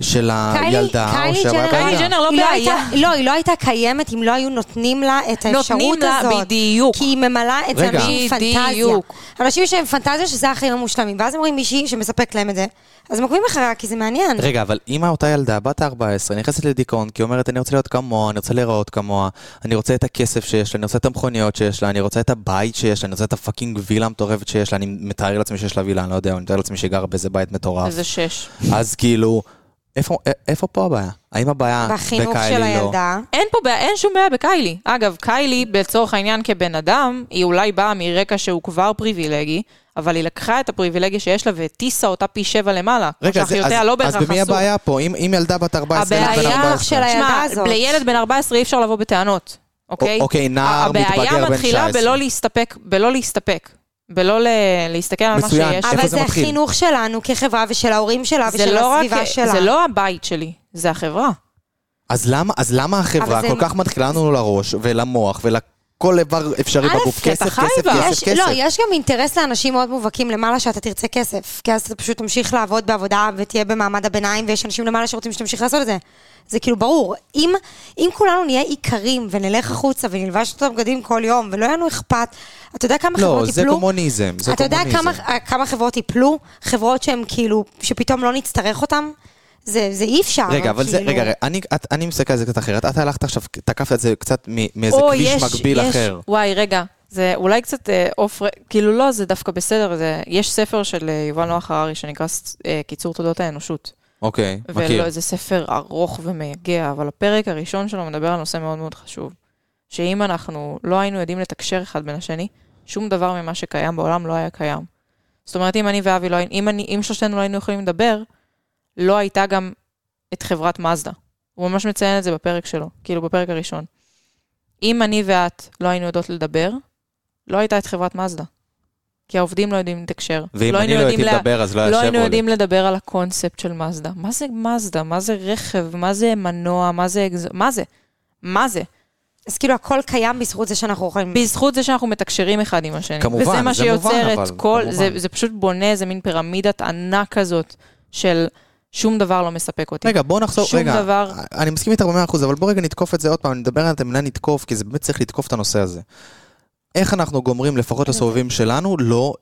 [SPEAKER 1] של
[SPEAKER 3] קיילי-
[SPEAKER 1] הילדה? אה, או
[SPEAKER 3] קיילי
[SPEAKER 1] שהבעיה
[SPEAKER 3] ג'נר-
[SPEAKER 1] בילדה?
[SPEAKER 2] קיילי ג'נר לא
[SPEAKER 3] היא
[SPEAKER 2] בעיה.
[SPEAKER 3] הייתה- לא, היא לא הייתה קיימת אם לא היו נותנים לה את
[SPEAKER 2] נותנים
[SPEAKER 3] האפשרות
[SPEAKER 2] לה
[SPEAKER 3] הזאת.
[SPEAKER 2] בדיוק.
[SPEAKER 3] כי היא ממלאה את זה
[SPEAKER 1] רגע.
[SPEAKER 3] אנשים עם פנטזיה.
[SPEAKER 2] בדיוק.
[SPEAKER 3] אנשים שהם פנטזיה שזה החיים המושלמים, ואז הם רואים מישהי שמספק להם את זה, אז הם עוקבים אחריה כי זה מעניין.
[SPEAKER 1] רגע, אבל אם אותה ילדה, בת ה-14, נכנסת לדיכאון, כי היא אומרת, אני רוצה להיות כמוה, אני רוצה להיראות כמוה, אני רוצה את הכסף שיש לה, אני רוצה את המכוניות שיש לה, אני רוצה את הבית שיש לה, אני רוצה את הפאקינג וילה המטורפת שיש לה, אני מתאר לעצמי שיש לה וילה, אני לא יודע, אני מתאר לעצמי שהיא גרה באיזה בית מטורף.
[SPEAKER 2] איזה שש.
[SPEAKER 1] אז כאילו, איפה, א- איפה פה הבעיה? האם הבעיה
[SPEAKER 3] בחינוך
[SPEAKER 1] בקיילי
[SPEAKER 3] של
[SPEAKER 1] לא?
[SPEAKER 3] הילדה.
[SPEAKER 2] אין פה בעיה, אין שום בעיה בקיילי. אגב, קיילי, לצורך העניין כבן אדם, היא אולי באה מרקע שהוא כבר פריבילגי, אבל היא לקחה את הפריבילגיה שיש לה והטיסה אותה פי שבע למעלה.
[SPEAKER 1] רגע, זה, אז,
[SPEAKER 2] שאחיותיה לא
[SPEAKER 1] אז
[SPEAKER 2] בהכרח
[SPEAKER 1] במי
[SPEAKER 2] עשו.
[SPEAKER 1] הבעיה פה? אם, אם ילדה בת 14, ילד בן
[SPEAKER 2] הבעיה
[SPEAKER 1] 14.
[SPEAKER 3] של ה- הילדה
[SPEAKER 2] תשמע,
[SPEAKER 3] הזאת.
[SPEAKER 2] לילד בן 14 אי אפשר לבוא בטענות, אוקיי?
[SPEAKER 1] א- אוקיי, נער מתבגר בן
[SPEAKER 2] הבעיה מתחילה
[SPEAKER 1] 19.
[SPEAKER 2] בלא להסתפק, בלא להסתפק. בלא ל- להסתכל על מה שיש.
[SPEAKER 1] מצוין. איפה
[SPEAKER 3] אבל
[SPEAKER 1] זה
[SPEAKER 3] זה
[SPEAKER 1] מתחיל?
[SPEAKER 3] החינוך שלנו כחברה ושל ההורים שלה
[SPEAKER 2] זה
[SPEAKER 3] ושל
[SPEAKER 2] לא
[SPEAKER 3] הסביבה
[SPEAKER 2] רק-
[SPEAKER 3] שלה.
[SPEAKER 2] זה לא הבית שלי, זה החברה.
[SPEAKER 1] אז למה, אז למה החברה
[SPEAKER 3] אבל זה-
[SPEAKER 1] כל כך מתחילה לנו לראש ולמוח ולכל איבר אפשרי
[SPEAKER 2] א',
[SPEAKER 1] בגוף?
[SPEAKER 2] כי אתה
[SPEAKER 1] כסף,
[SPEAKER 2] חי
[SPEAKER 1] כסף,
[SPEAKER 2] בה.
[SPEAKER 1] כסף,
[SPEAKER 3] יש,
[SPEAKER 1] כסף.
[SPEAKER 3] לא, יש גם אינטרס לאנשים מאוד מובהקים למעלה שאתה תרצה כסף. כי אז אתה פשוט תמשיך לעבוד בעבודה ותהיה במעמד הביניים, ויש אנשים למעלה שרוצים שתמשיך לעשות את זה. זה כאילו ברור. אם, אם כולנו נהיה איכרים ונלך החוצה ונלבש את הבגדים כל יום, ולא יהיה לנו אכפת, אתה יודע כמה
[SPEAKER 1] לא,
[SPEAKER 3] חברות
[SPEAKER 1] זה
[SPEAKER 3] יפלו?
[SPEAKER 1] קומוניזם. זה
[SPEAKER 3] אתה יודע
[SPEAKER 1] קומוניזם.
[SPEAKER 3] כמה, כמה חברות יפלו? חברות שהן כאילו, שפתאום לא נצטרך אותן? זה, זה אי אפשר.
[SPEAKER 2] אה,
[SPEAKER 1] רגע, אבל זה,
[SPEAKER 3] כאילו.
[SPEAKER 1] רגע, רגע, אני, את, אני מסתכל על זה קצת אחרת. את הלכת עכשיו, תקפת את זה קצת מ- מאיזה
[SPEAKER 2] או,
[SPEAKER 1] כביש
[SPEAKER 2] יש-
[SPEAKER 1] מקביל
[SPEAKER 2] יש-
[SPEAKER 1] אחר.
[SPEAKER 2] וואי, רגע. זה אולי קצת אה, אוף... ר- כאילו לא, זה דווקא בסדר. זה, יש ספר של אה, יובל נוח הררי שנקרא ס- אה, קיצור תולדות האנושות.
[SPEAKER 1] אוקיי, מכיר.
[SPEAKER 2] ולא, זה ספר ארוך ומייגע, אבל הפרק הראשון שלו מדבר על נושא מאוד מאוד חשוב. שאם אנחנו לא היינו יודעים לתקשר אחד בין השני, שום דבר ממה שקיים בעולם לא היה קיים. זאת אומרת, אם אני ואבי לא היינו, אם, אני- אם שלושתנו לא היינו יכולים לדבר, לא הייתה גם את חברת מזדה. הוא ממש מציין את זה בפרק שלו, כאילו בפרק הראשון. אם אני ואת לא היינו יודעות לדבר, לא הייתה את חברת מזדה. כי העובדים לא יודעים לתקשר.
[SPEAKER 1] ואם
[SPEAKER 2] היינו
[SPEAKER 1] אני לא
[SPEAKER 2] יודעים
[SPEAKER 1] הייתי
[SPEAKER 2] לה-
[SPEAKER 1] מדבר, אז לא היה
[SPEAKER 2] לא היינו
[SPEAKER 1] שברולט.
[SPEAKER 2] יודעים לדבר על הקונספט של מזדה. מה זה מזדה? מה זה רכב? מה זה מנוע? מה זה אקז... מה זה? מה זה?
[SPEAKER 1] Mm.
[SPEAKER 3] אז כאילו הכל קיים בזכות זה שאנחנו יכולים...
[SPEAKER 2] בזכות זה שאנחנו מתקשרים אחד עם השני.
[SPEAKER 1] כמובן,
[SPEAKER 2] וזה מה
[SPEAKER 1] זה מובן,
[SPEAKER 2] שיוצר
[SPEAKER 1] אבל-
[SPEAKER 2] את כל...
[SPEAKER 1] כמובן.
[SPEAKER 2] זה, זה פשוט בונה איזה מין פירמידת ענק כזאת של שום דבר לא מספק אותי.
[SPEAKER 1] רגע, בואו נחזור,
[SPEAKER 2] שום
[SPEAKER 1] רגע,
[SPEAKER 2] דבר.
[SPEAKER 1] אני מסכים איתך במאה אחוז, אבל בואו רגע נתקוף את זה עוד פעם, נדבר על את המילה נתקוף, כי זה באמת צריך לתקוף את הנושא הזה. איך אנחנו גומרים, לפחות לסובבים
[SPEAKER 2] אוקיי.
[SPEAKER 1] שלנו, לא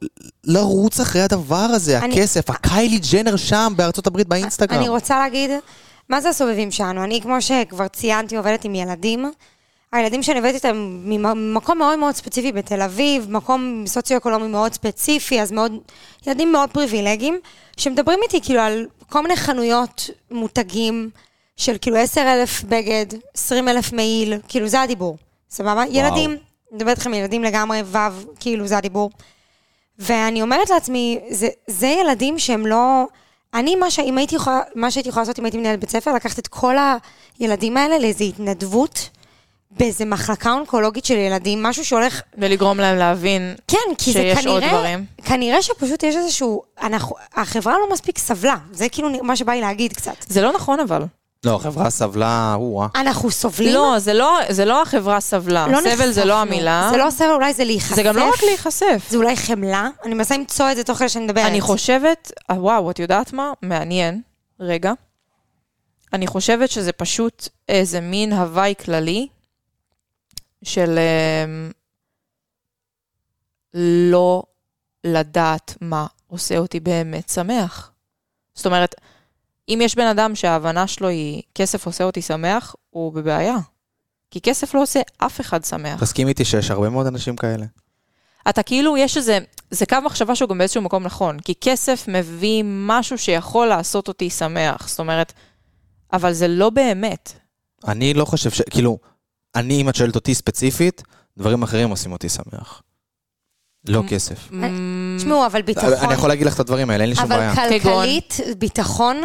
[SPEAKER 1] לרוץ אחרי הדבר הזה,
[SPEAKER 3] אני-
[SPEAKER 2] אה-
[SPEAKER 1] הכסף, הקיילי ג'נר שם, בארצות הברית,
[SPEAKER 3] אני
[SPEAKER 1] באינסטגרם.
[SPEAKER 3] רוצה להגיד, מה זה הסובבים שלנו? אני, כמו שכבר ציינתי, עובדת עם ילדים. הילדים שאני עובדת איתם ממקום מאוד מאוד ספציפי בתל אביב, מקום סוציו-אקונומי מאוד ספציפי, אז מאוד, ילדים מאוד פריבילגיים, שמדברים איתי כאילו על כל מיני חנויות מותגים של כאילו 10,000 בגד, 20,000 מעיל, כאילו זה הדיבור, סבבה? ילדים, מדברת איתכם ילדים לגמרי, ו', כאילו זה הדיבור. ואני אומרת לעצמי, זה, זה ילדים שהם לא... אני, מה, ש... אם הייתי יכולה, מה שהייתי יכולה לעשות אם הייתי מנהלת בית ספר, לקחת את כל הילדים האלה לאיזו התנדבות באיזו מחלקה אונקולוגית של ילדים, משהו שהולך...
[SPEAKER 2] ולגרום להם להבין
[SPEAKER 3] כן, כי זה
[SPEAKER 2] שיש עוד
[SPEAKER 3] כנראה...
[SPEAKER 2] דברים.
[SPEAKER 3] כנראה שפשוט יש איזשהו... אנחנו, החברה לא מספיק סבלה, זה כאילו מה שבא לי להגיד קצת.
[SPEAKER 2] זה לא נכון אבל.
[SPEAKER 1] לא, החברה סבלה, או-אה.
[SPEAKER 3] אנחנו סובלים,
[SPEAKER 2] לא, זה לא, זה לא החברה סבלה.
[SPEAKER 3] לא
[SPEAKER 2] סבל זה
[SPEAKER 3] נחשפנו.
[SPEAKER 2] לא המילה.
[SPEAKER 3] זה לא סבל, אולי זה להיחשף.
[SPEAKER 2] זה גם לא רק להיחשף.
[SPEAKER 3] זה אולי חמלה. אני מנסה למצוא את זה תוך כדי שאני מדברת.
[SPEAKER 2] אני חושבת, אה, וואו, את יודעת מה? מעניין. רגע. אני חושבת שזה פשוט איזה מין הוואי כללי של אמ, לא לדעת מה עושה אותי באמת שמח. זאת אומרת, אם יש בן אדם שההבנה שלו היא כסף עושה אותי שמח, הוא בבעיה. כי כסף לא עושה אף אחד שמח.
[SPEAKER 1] תסכים איתי שיש הרבה מאוד אנשים כאלה.
[SPEAKER 2] אתה כאילו, יש איזה, זה קו מחשבה שהוא גם באיזשהו מקום נכון, כי כסף מביא משהו שיכול לעשות אותי שמח, זאת אומרת, אבל זה לא באמת.
[SPEAKER 1] אני לא חושב ש... כאילו, אני, אם את שואלת אותי ספציפית, דברים אחרים עושים אותי שמח. לא
[SPEAKER 2] מ-
[SPEAKER 1] כסף.
[SPEAKER 3] תשמעו, אבל ביטחון...
[SPEAKER 1] אני יכול להגיד לך את הדברים האלה, אין לי שום בעיה.
[SPEAKER 3] נכון. אבל כלכלית, ביטחון,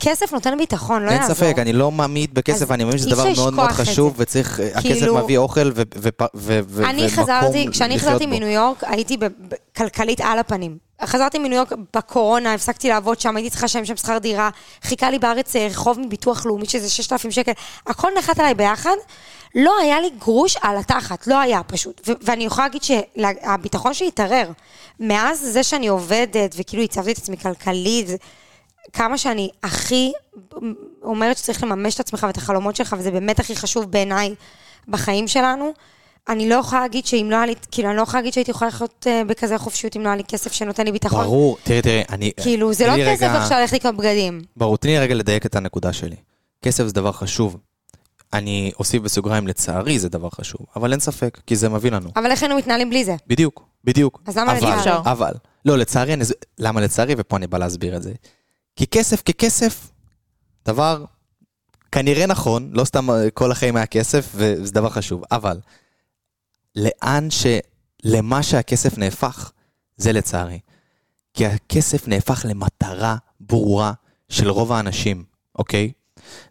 [SPEAKER 3] כסף נותן ביטחון, לא
[SPEAKER 1] אין
[SPEAKER 3] יעזור.
[SPEAKER 1] ספק, אני לא מעמיד בכסף,
[SPEAKER 3] אז
[SPEAKER 1] אני מאמין שזה
[SPEAKER 3] אי אפשר
[SPEAKER 1] דבר מאוד מאוד
[SPEAKER 3] לשכוח את
[SPEAKER 1] חשוב, וצריך, אה, הכסף
[SPEAKER 3] כאילו-
[SPEAKER 1] מביא אוכל ו- ו- ו- ו- ו-
[SPEAKER 3] אני
[SPEAKER 1] ומקום
[SPEAKER 3] חזרתי, כשאני
[SPEAKER 1] לחיות
[SPEAKER 3] חזרתי
[SPEAKER 1] בו.
[SPEAKER 3] מניו יורק, הייתי ב- ב- כלכלית על הפנים. חזרתי מניו יורק בקורונה, הפסקתי לעבוד שם, הייתי צריכה לשלם שם שכר דירה, חיכה לי בארץ אה, חוב מביטוח לאומי שזה 6,000 שקל, הכל נחת עליי ביחד, לא היה לי גרוש על התחת, לא היה פשוט. ו- ואני יכולה להגיד שהביטחון שלי התערער. מאז זה שאני עובדת, וכאילו הצבתי את עצמי כלכלית, וזה- כמה שאני הכי אומרת שצריך לממש את עצמך ואת החלומות שלך, וזה באמת הכי חשוב בעיניי בחיים שלנו. אני לא יכולה להגיד שאם לא היה לי, כאילו, אני לא יכולה להגיד שהייתי יכולה לחיות אה, בכזה חופשיות אם לא היה לי כסף שנותן לי ביטחון.
[SPEAKER 1] ברור, תראי, תראי, אני...
[SPEAKER 3] כאילו, זה
[SPEAKER 1] תני לי
[SPEAKER 3] לא כסף
[SPEAKER 1] רגע-
[SPEAKER 3] עכשיו ללכת לקנות בגדים.
[SPEAKER 1] ברור, תני לי רגע לדייק את הנקודה שלי. כסף זה דבר חשוב. אני אוסיף בסוגריים, לצערי זה דבר חשוב, אבל אין ספק, כי זה מביא לנו.
[SPEAKER 3] אבל איך היינו מתנהלים בלי זה?
[SPEAKER 1] בדיוק, בדיוק.
[SPEAKER 3] אז למה
[SPEAKER 1] אבל-
[SPEAKER 2] לצערי?
[SPEAKER 1] אבל, לא, לצערי, אני- למה לצערי, ופה אני בא להסביר את זה. כי כסף ככסף, דבר כנראה נכון, לא סתם אה, כל החיים היה כסף, וזה דבר חשוב, אבל לאן ש... למה שהכסף נהפך, זה לצערי. כי הכסף נהפך למטרה ברורה של רוב האנשים, אוקיי?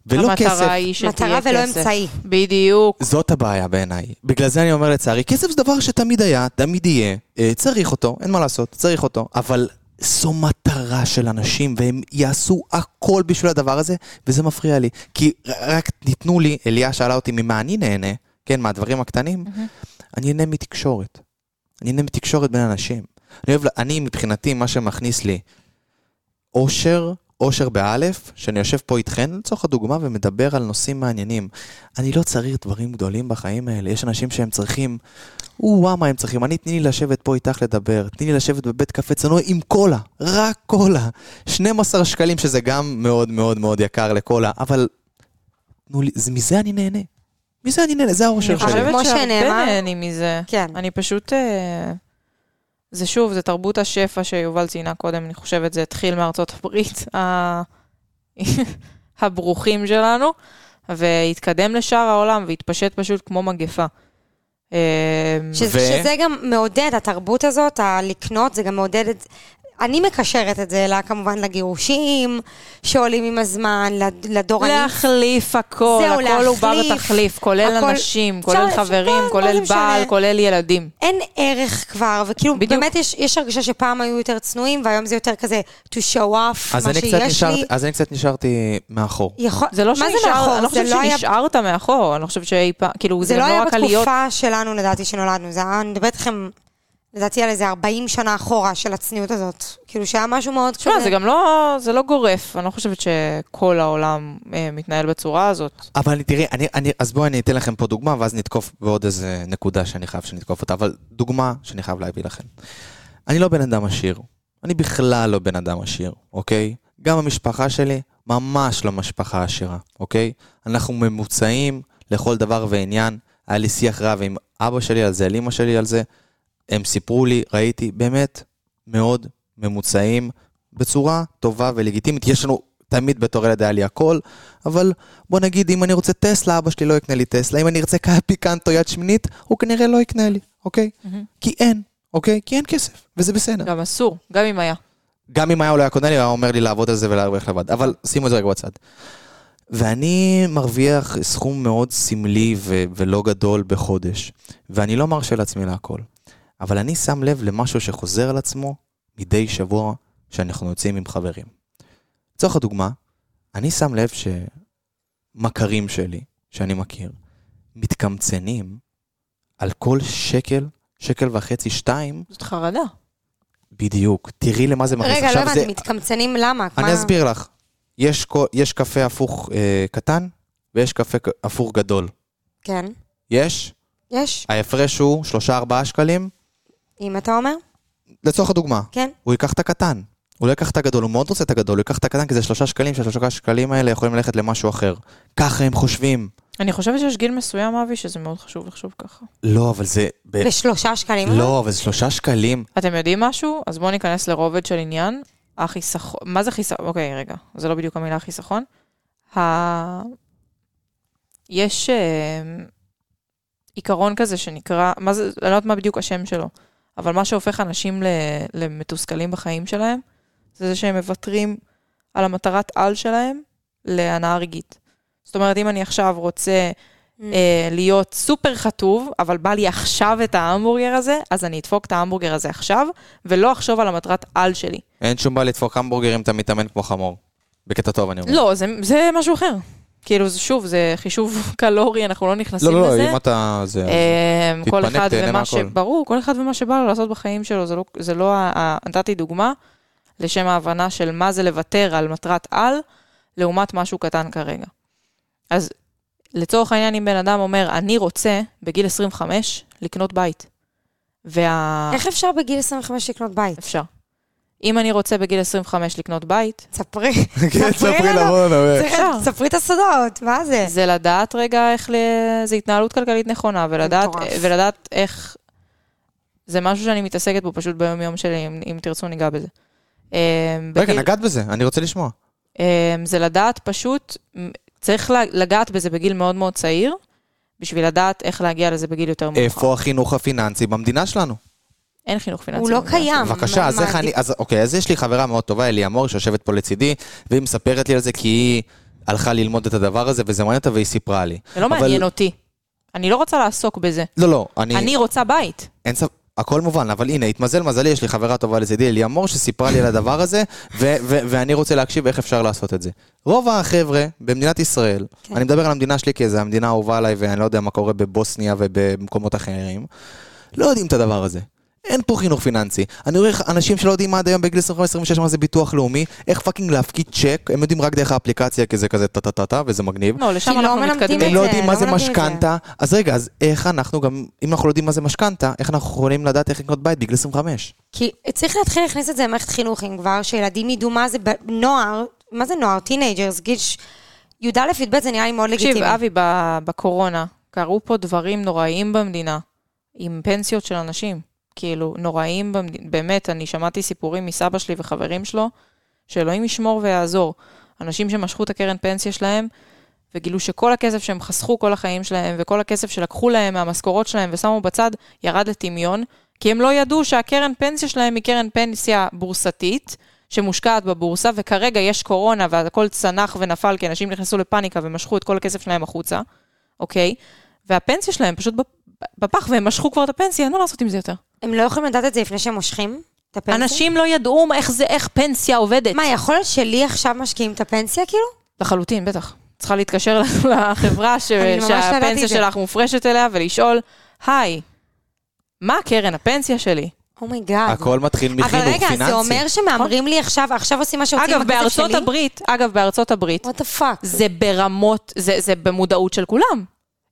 [SPEAKER 1] ולא כסף,
[SPEAKER 2] המטרה היא שתהיה כסף.
[SPEAKER 3] מטרה ולא אמצעי.
[SPEAKER 2] בדיוק.
[SPEAKER 1] זאת הבעיה בעיניי. בגלל זה אני אומר לצערי, כסף זה דבר שתמיד היה, תמיד יהיה, אה, צריך אותו, אין מה לעשות, צריך אותו, אבל זו מטרה של אנשים, והם יעשו הכל בשביל הדבר הזה, וזה מפריע לי. כי ר- רק תיתנו לי, אליה שאלה אותי ממה אני נהנה, כן, מהדברים הקטנים, אני נהנה מתקשורת. אני נהנה מתקשורת בין אנשים. אני אוהב, ל- אני מבחינתי, מה שמכניס לי אושר, אושר באלף, שאני יושב פה איתכן לצורך הדוגמה ומדבר על נושאים מעניינים. אני לא צריך דברים גדולים בחיים האלה, יש אנשים שהם צריכים, וואו מה הם צריכים, אני תני לי לשבת פה איתך לדבר, תני לי לשבת בבית קפה צנוע עם קולה, רק קולה. 12 שקלים שזה גם מאוד מאוד מאוד יקר לקולה, אבל תנו לי, זה, מזה אני נהנה. מזה אני נהנה, זה האושר
[SPEAKER 2] אני
[SPEAKER 1] שלי.
[SPEAKER 3] כמו
[SPEAKER 2] חושבת שהרבה
[SPEAKER 3] שנאמר-
[SPEAKER 2] נהנים מזה.
[SPEAKER 3] כן.
[SPEAKER 2] אני פשוט... אה, זה שוב, זה תרבות השפע שיובל ציינה קודם, אני חושבת, זה התחיל מארצות הברית, ה- הברוכים שלנו, והתקדם לשאר העולם והתפשט פשוט כמו מגפה. אה,
[SPEAKER 3] ש-
[SPEAKER 1] ו-
[SPEAKER 3] שזה גם מעודד, התרבות הזאת, הלקנות, זה גם מעודד את... אני מקשרת את זה, לה, כמובן, לגירושים שעולים עם הזמן, לד- לדור הנ...
[SPEAKER 2] להחליף הכל,
[SPEAKER 3] זהו,
[SPEAKER 2] הכל הוא בא
[SPEAKER 3] להחליף,
[SPEAKER 2] בתחליף, כולל
[SPEAKER 3] הכל-
[SPEAKER 2] אנשים,
[SPEAKER 3] אפשר-
[SPEAKER 2] כולל
[SPEAKER 3] אפשר-
[SPEAKER 2] חברים,
[SPEAKER 3] מה- מה
[SPEAKER 2] כולל
[SPEAKER 3] זה משנה?
[SPEAKER 2] בעל, כולל ילדים.
[SPEAKER 3] אין ערך כבר, וכאילו,
[SPEAKER 2] בדיוק.
[SPEAKER 3] בדיוק. באמת יש, יש הרגשה שפעם היו יותר צנועים, והיום זה יותר כזה to show off,
[SPEAKER 1] אז
[SPEAKER 3] מה
[SPEAKER 1] אני,
[SPEAKER 3] שיש
[SPEAKER 1] קצת
[SPEAKER 3] לי.
[SPEAKER 1] נשארתי, אז אני קצת נשארתי מאחור.
[SPEAKER 3] יכול...
[SPEAKER 2] זה לא
[SPEAKER 3] מה
[SPEAKER 2] שנשאר,
[SPEAKER 3] זה מאחור?
[SPEAKER 2] אני לא חושבת
[SPEAKER 3] זה לא היה-
[SPEAKER 2] שנשארת מאחור, אני לא חושבת שאי פעם, כאילו,
[SPEAKER 3] זה
[SPEAKER 2] זה
[SPEAKER 3] לא
[SPEAKER 2] גם
[SPEAKER 3] היה
[SPEAKER 2] לא רק עליות.
[SPEAKER 3] בתקופה שלנו, לדעתי, שנולדנו. זה היה, אני מדברת איתכם, לדעתי, על איזה 40 שנה אחורה של הצניעות הזאת. כאילו, שהיה משהו מאוד
[SPEAKER 2] תשמע, זה גם לא, זה לא גורף, אני לא חושבת שכל העולם אה, מתנהל בצורה הזאת.
[SPEAKER 1] אבל תראי, אני, אני, אז בואו אני אתן לכם פה דוגמה, ואז נתקוף בעוד איזה נקודה שאני חייב שנתקוף אותה, אבל דוגמה שאני חייב להביא לכם. אני לא בן אדם עשיר. אני בכלל לא בן אדם עשיר, אוקיי? גם המשפחה שלי ממש לא משפחה עשירה, אוקיי? אנחנו ממוצעים לכל דבר ועניין. היה לי שיח רב עם אבא שלי על זה, על אמא שלי על זה. הם סיפרו לי, ראיתי, באמת מאוד ממוצעים בצורה טובה ולגיטימית. יש לנו, תמיד בתור ילד היה לי הכל, אבל בוא נגיד, אם אני רוצה טסלה, אבא שלי לא יקנה לי טסלה. אם אני ארצה קאי פיקנטו יד שמינית, הוא כנראה לא יקנה לי, אוקיי? כי אין, אוקיי? כי אין כסף, וזה בסדר.
[SPEAKER 2] גם אסור, גם אם היה.
[SPEAKER 1] גם אם היה הוא לא היה קונה לי, הוא היה אומר לי לעבוד על זה ולהרוויח לבד. אבל שימו את זה רגע בצד. ואני מרוויח סכום מאוד סמלי ו- ולא גדול בחודש, ואני לא מרשה לעצמי להכל. אבל אני שם לב למשהו שחוזר על עצמו מדי שבוע שאנחנו יוצאים עם חברים. לצורך הדוגמה, אני שם לב שמכרים שלי, שאני מכיר, מתקמצנים על כל שקל, שקל וחצי, שתיים,
[SPEAKER 2] זאת חרדה.
[SPEAKER 1] בדיוק. תראי למה זה מכניס.
[SPEAKER 3] רגע, לא
[SPEAKER 1] עכשיו זה-
[SPEAKER 3] הבנתי, מתקמצנים למה?
[SPEAKER 1] אני
[SPEAKER 3] מה-
[SPEAKER 1] אסביר לך. יש, קו- יש קפה הפוך אה, קטן, ויש קפה ק- הפוך גדול.
[SPEAKER 3] כן,
[SPEAKER 1] יש,
[SPEAKER 3] יש.
[SPEAKER 1] ההפרש הוא 3-4 שקלים.
[SPEAKER 3] אם אתה אומר,
[SPEAKER 1] לצורך הדוגמה,
[SPEAKER 3] כן.
[SPEAKER 1] הוא ייקח את הקטן. הוא לא ייקח את הגדול, הוא מאוד רוצה את הגדול, הוא ייקח את הקטן כי זה שלושה שקלים, שהשלושה שקלים האלה יכולים ללכת למשהו אחר. ככה הם חושבים.
[SPEAKER 2] אני חושבת שיש גיל מסוים, אבי, שזה מאוד חשוב לחשוב ככה.
[SPEAKER 1] לא, אבל זה... ב-
[SPEAKER 3] בשלושה שקלים.
[SPEAKER 1] לא, אבל זה שלושה שקלים.
[SPEAKER 2] אתם יודעים משהו? אז בואו ניכנס לרובד של עניין. החיסכון, מה זה חיסכון? אוקיי, רגע, זה לא בדיוק המילה חיסכון. ה... יש אה, עיקרון כזה שנקרא, מה זה, אני לא יודעת מה בדיוק השם שלו, אבל מה שהופך אנשים ל... למתוסכלים בחיים שלהם, זה זה שהם מוותרים על המטרת על שלהם להנאה רגעית. זאת אומרת, אם אני עכשיו רוצה אה, להיות סופר חטוב, אבל בא לי עכשיו את ההמבורגר הזה, אז אני אדפוק את ההמבורגר הזה עכשיו, ולא אחשוב על המטרת על שלי.
[SPEAKER 1] אין שום בעיה לדפוק המבורגר אם אתה מתאמן כמו חמור. בקטע טוב, אני אומר.
[SPEAKER 2] לא, זה, זה משהו אחר. כאילו, זה- שוב, זה חישוב קלורי, אנחנו לא נכנסים
[SPEAKER 1] לא, לא,
[SPEAKER 2] לזה.
[SPEAKER 1] לא, אם אתה... זה...
[SPEAKER 2] אמ,
[SPEAKER 1] תתפנק,
[SPEAKER 2] כל אחד
[SPEAKER 1] תהנה
[SPEAKER 2] ומה ש...
[SPEAKER 1] מהכל.
[SPEAKER 2] ברור, כל אחד ומה שבא לו לעשות בחיים שלו, זה לא... זה לא ה- ה- נתתי דוגמה לשם ההבנה של מה זה לוותר על מטרת על, לעומת משהו קטן כרגע. אז לצורך העניין, אם בן אדם אומר, אני רוצה בגיל 25 לקנות בית, וה...
[SPEAKER 3] איך אפשר בגיל 25 לקנות בית?
[SPEAKER 1] כן,
[SPEAKER 2] אפשר. אם אני רוצה בגיל 25 לקנות בית,
[SPEAKER 3] ספרי,
[SPEAKER 1] כן, אה.
[SPEAKER 3] ספרי לנו.
[SPEAKER 1] למה,
[SPEAKER 3] צריך- ספרי את הסודות, מה זה?
[SPEAKER 2] זה לדעת רגע איך ל... זה התנהלות כלכלית נכונה, ולדעת,
[SPEAKER 3] מטורף.
[SPEAKER 2] ולדעת איך... זה משהו שאני מתעסקת בו פשוט ביום-יום שלי, אם, אם תרצו ניגע בזה. אה,
[SPEAKER 1] רגע,
[SPEAKER 2] בגיל-
[SPEAKER 1] נגעת בזה, אני רוצה לשמוע.
[SPEAKER 2] אה, זה לדעת פשוט, מ- צריך ל- לגעת בזה בגיל מאוד מאוד צעיר, בשביל לדעת איך להגיע לזה בגיל יותר מאוחר.
[SPEAKER 1] איפה החינוך הפיננסי במדינה שלנו?
[SPEAKER 2] אין חינוך פיננסי.
[SPEAKER 3] הוא לא
[SPEAKER 2] במדינה
[SPEAKER 3] קיים.
[SPEAKER 1] בבקשה,
[SPEAKER 3] אה, מה-
[SPEAKER 1] אז
[SPEAKER 3] מה
[SPEAKER 1] איך אני...
[SPEAKER 3] עדיף?
[SPEAKER 1] אז אוקיי, אז יש לי חברה מאוד טובה, אליה מור, שיושבת פה לצידי, והיא מספרת לי על זה כי היא הלכה ללמוד את הדבר הזה, וזה מעניין אותה, והיא סיפרה לי.
[SPEAKER 2] זה לא
[SPEAKER 1] אבל-
[SPEAKER 2] מעניין אותי. אני לא רוצה לעסוק בזה.
[SPEAKER 1] לא, לא, אני...
[SPEAKER 2] אני רוצה בית.
[SPEAKER 1] אין ספק, הכל מובן, אבל הנה, התמזל מזלי, יש לי חברה טובה לצידי, אליה מור, שסיפרה לי על הדבר הזה, ו- ו- ואני רוצה להקשיב איך אפשר לעשות את זה. רוב החבר'ה במדינת ישראל,
[SPEAKER 3] כן.
[SPEAKER 1] אני מדבר על המדינה שלי כי זו המדינה האהובה עליי, ואני לא יודע מה קורה בבוסניה ובמקומות אחרים, לא יודעים את הדבר הזה. אין פה חינוך פיננסי. אני רואה אנשים שלא יודעים עד היום בגיל 25-26 מה זה ביטוח לאומי, איך פאקינג להפקיד צ'ק, הם יודעים רק דרך האפליקציה, כי זה כזה טה-טה-טה-טה, וזה מגניב.
[SPEAKER 2] לא, לשם
[SPEAKER 3] כי לא
[SPEAKER 2] אנחנו
[SPEAKER 3] מלמדים
[SPEAKER 2] מתקדמים.
[SPEAKER 1] הם לא
[SPEAKER 3] זה,
[SPEAKER 1] יודעים מה
[SPEAKER 3] לא
[SPEAKER 1] זה
[SPEAKER 3] מלמדים את זה.
[SPEAKER 1] משכנתה, אז רגע, אז איך אנחנו גם, אם אנחנו לא יודעים מה זה משכנתה, איך אנחנו יכולים לדעת איך לקנות בית בגיל 25?
[SPEAKER 3] כי צריך להתחיל להכניס את זה למערכת חינוך, אם כבר, שילדים ידעו מה זה ב- נוער, מה זה נוער? טינג'רס, גיל ש- י"א, י"ב, זה נראה לי מאוד לגיטימי.
[SPEAKER 2] תקשיב, אבי, ב- בקורונה קרו פה דברים נוראיים במדינה, עם פנסיות של אנשים. כאילו, נוראיים במדינה. באמת, אני שמעתי סיפורים מסבא שלי וחברים שלו, שאלוהים ישמור ויעזור. אנשים שמשכו את הקרן פנסיה שלהם, וגילו שכל הכסף שהם חסכו כל החיים שלהם, וכל הכסף שלקחו להם מהמשכורות שלהם ושמו בצד, ירד לטמיון, כי הם לא ידעו שהקרן פנסיה שלהם היא קרן פנסיה בורסתית, שמושקעת בבורסה, וכרגע יש קורונה והכל צנח ונפל, כי אנשים נכנסו לפאניקה ומשכו את כל הכסף שלהם החוצה, אוקיי? והפנסיה שלהם פשוט בפ- בפח, והם משכו כבר את הפנסיה, אין מה לעשות עם זה יותר.
[SPEAKER 3] הם לא יכולים לדעת את זה לפני שהם מושכים את הפנסיה?
[SPEAKER 2] אנשים לא ידעו מה- איך זה, איך פנסיה עובדת.
[SPEAKER 3] מה, יכול להיות שלי עכשיו משקיעים את הפנסיה, כאילו?
[SPEAKER 2] לחלוטין, בטח. צריכה להתקשר לחברה ש...
[SPEAKER 3] אני ממש לא ידעתי
[SPEAKER 2] שהפנסיה
[SPEAKER 3] את זה.
[SPEAKER 2] שלך מופרשת אליה ולשאול, היי, מה קרן הפנסיה שלי?
[SPEAKER 3] אומייגאד.
[SPEAKER 1] הכל מתחיל
[SPEAKER 3] Oh אבל
[SPEAKER 1] מחינוך
[SPEAKER 3] רגע, זה
[SPEAKER 1] פיננסי.
[SPEAKER 3] אומר שמהמרים לי עכשיו, עכשיו עושים מה שרוצים עם
[SPEAKER 2] אגב,
[SPEAKER 3] הכסף שלי?
[SPEAKER 2] בארצות הברית, אגב, בארצות הברית,
[SPEAKER 3] וואט דה פאק.
[SPEAKER 2] זה ברמות, זה, זה במודעות של כולם.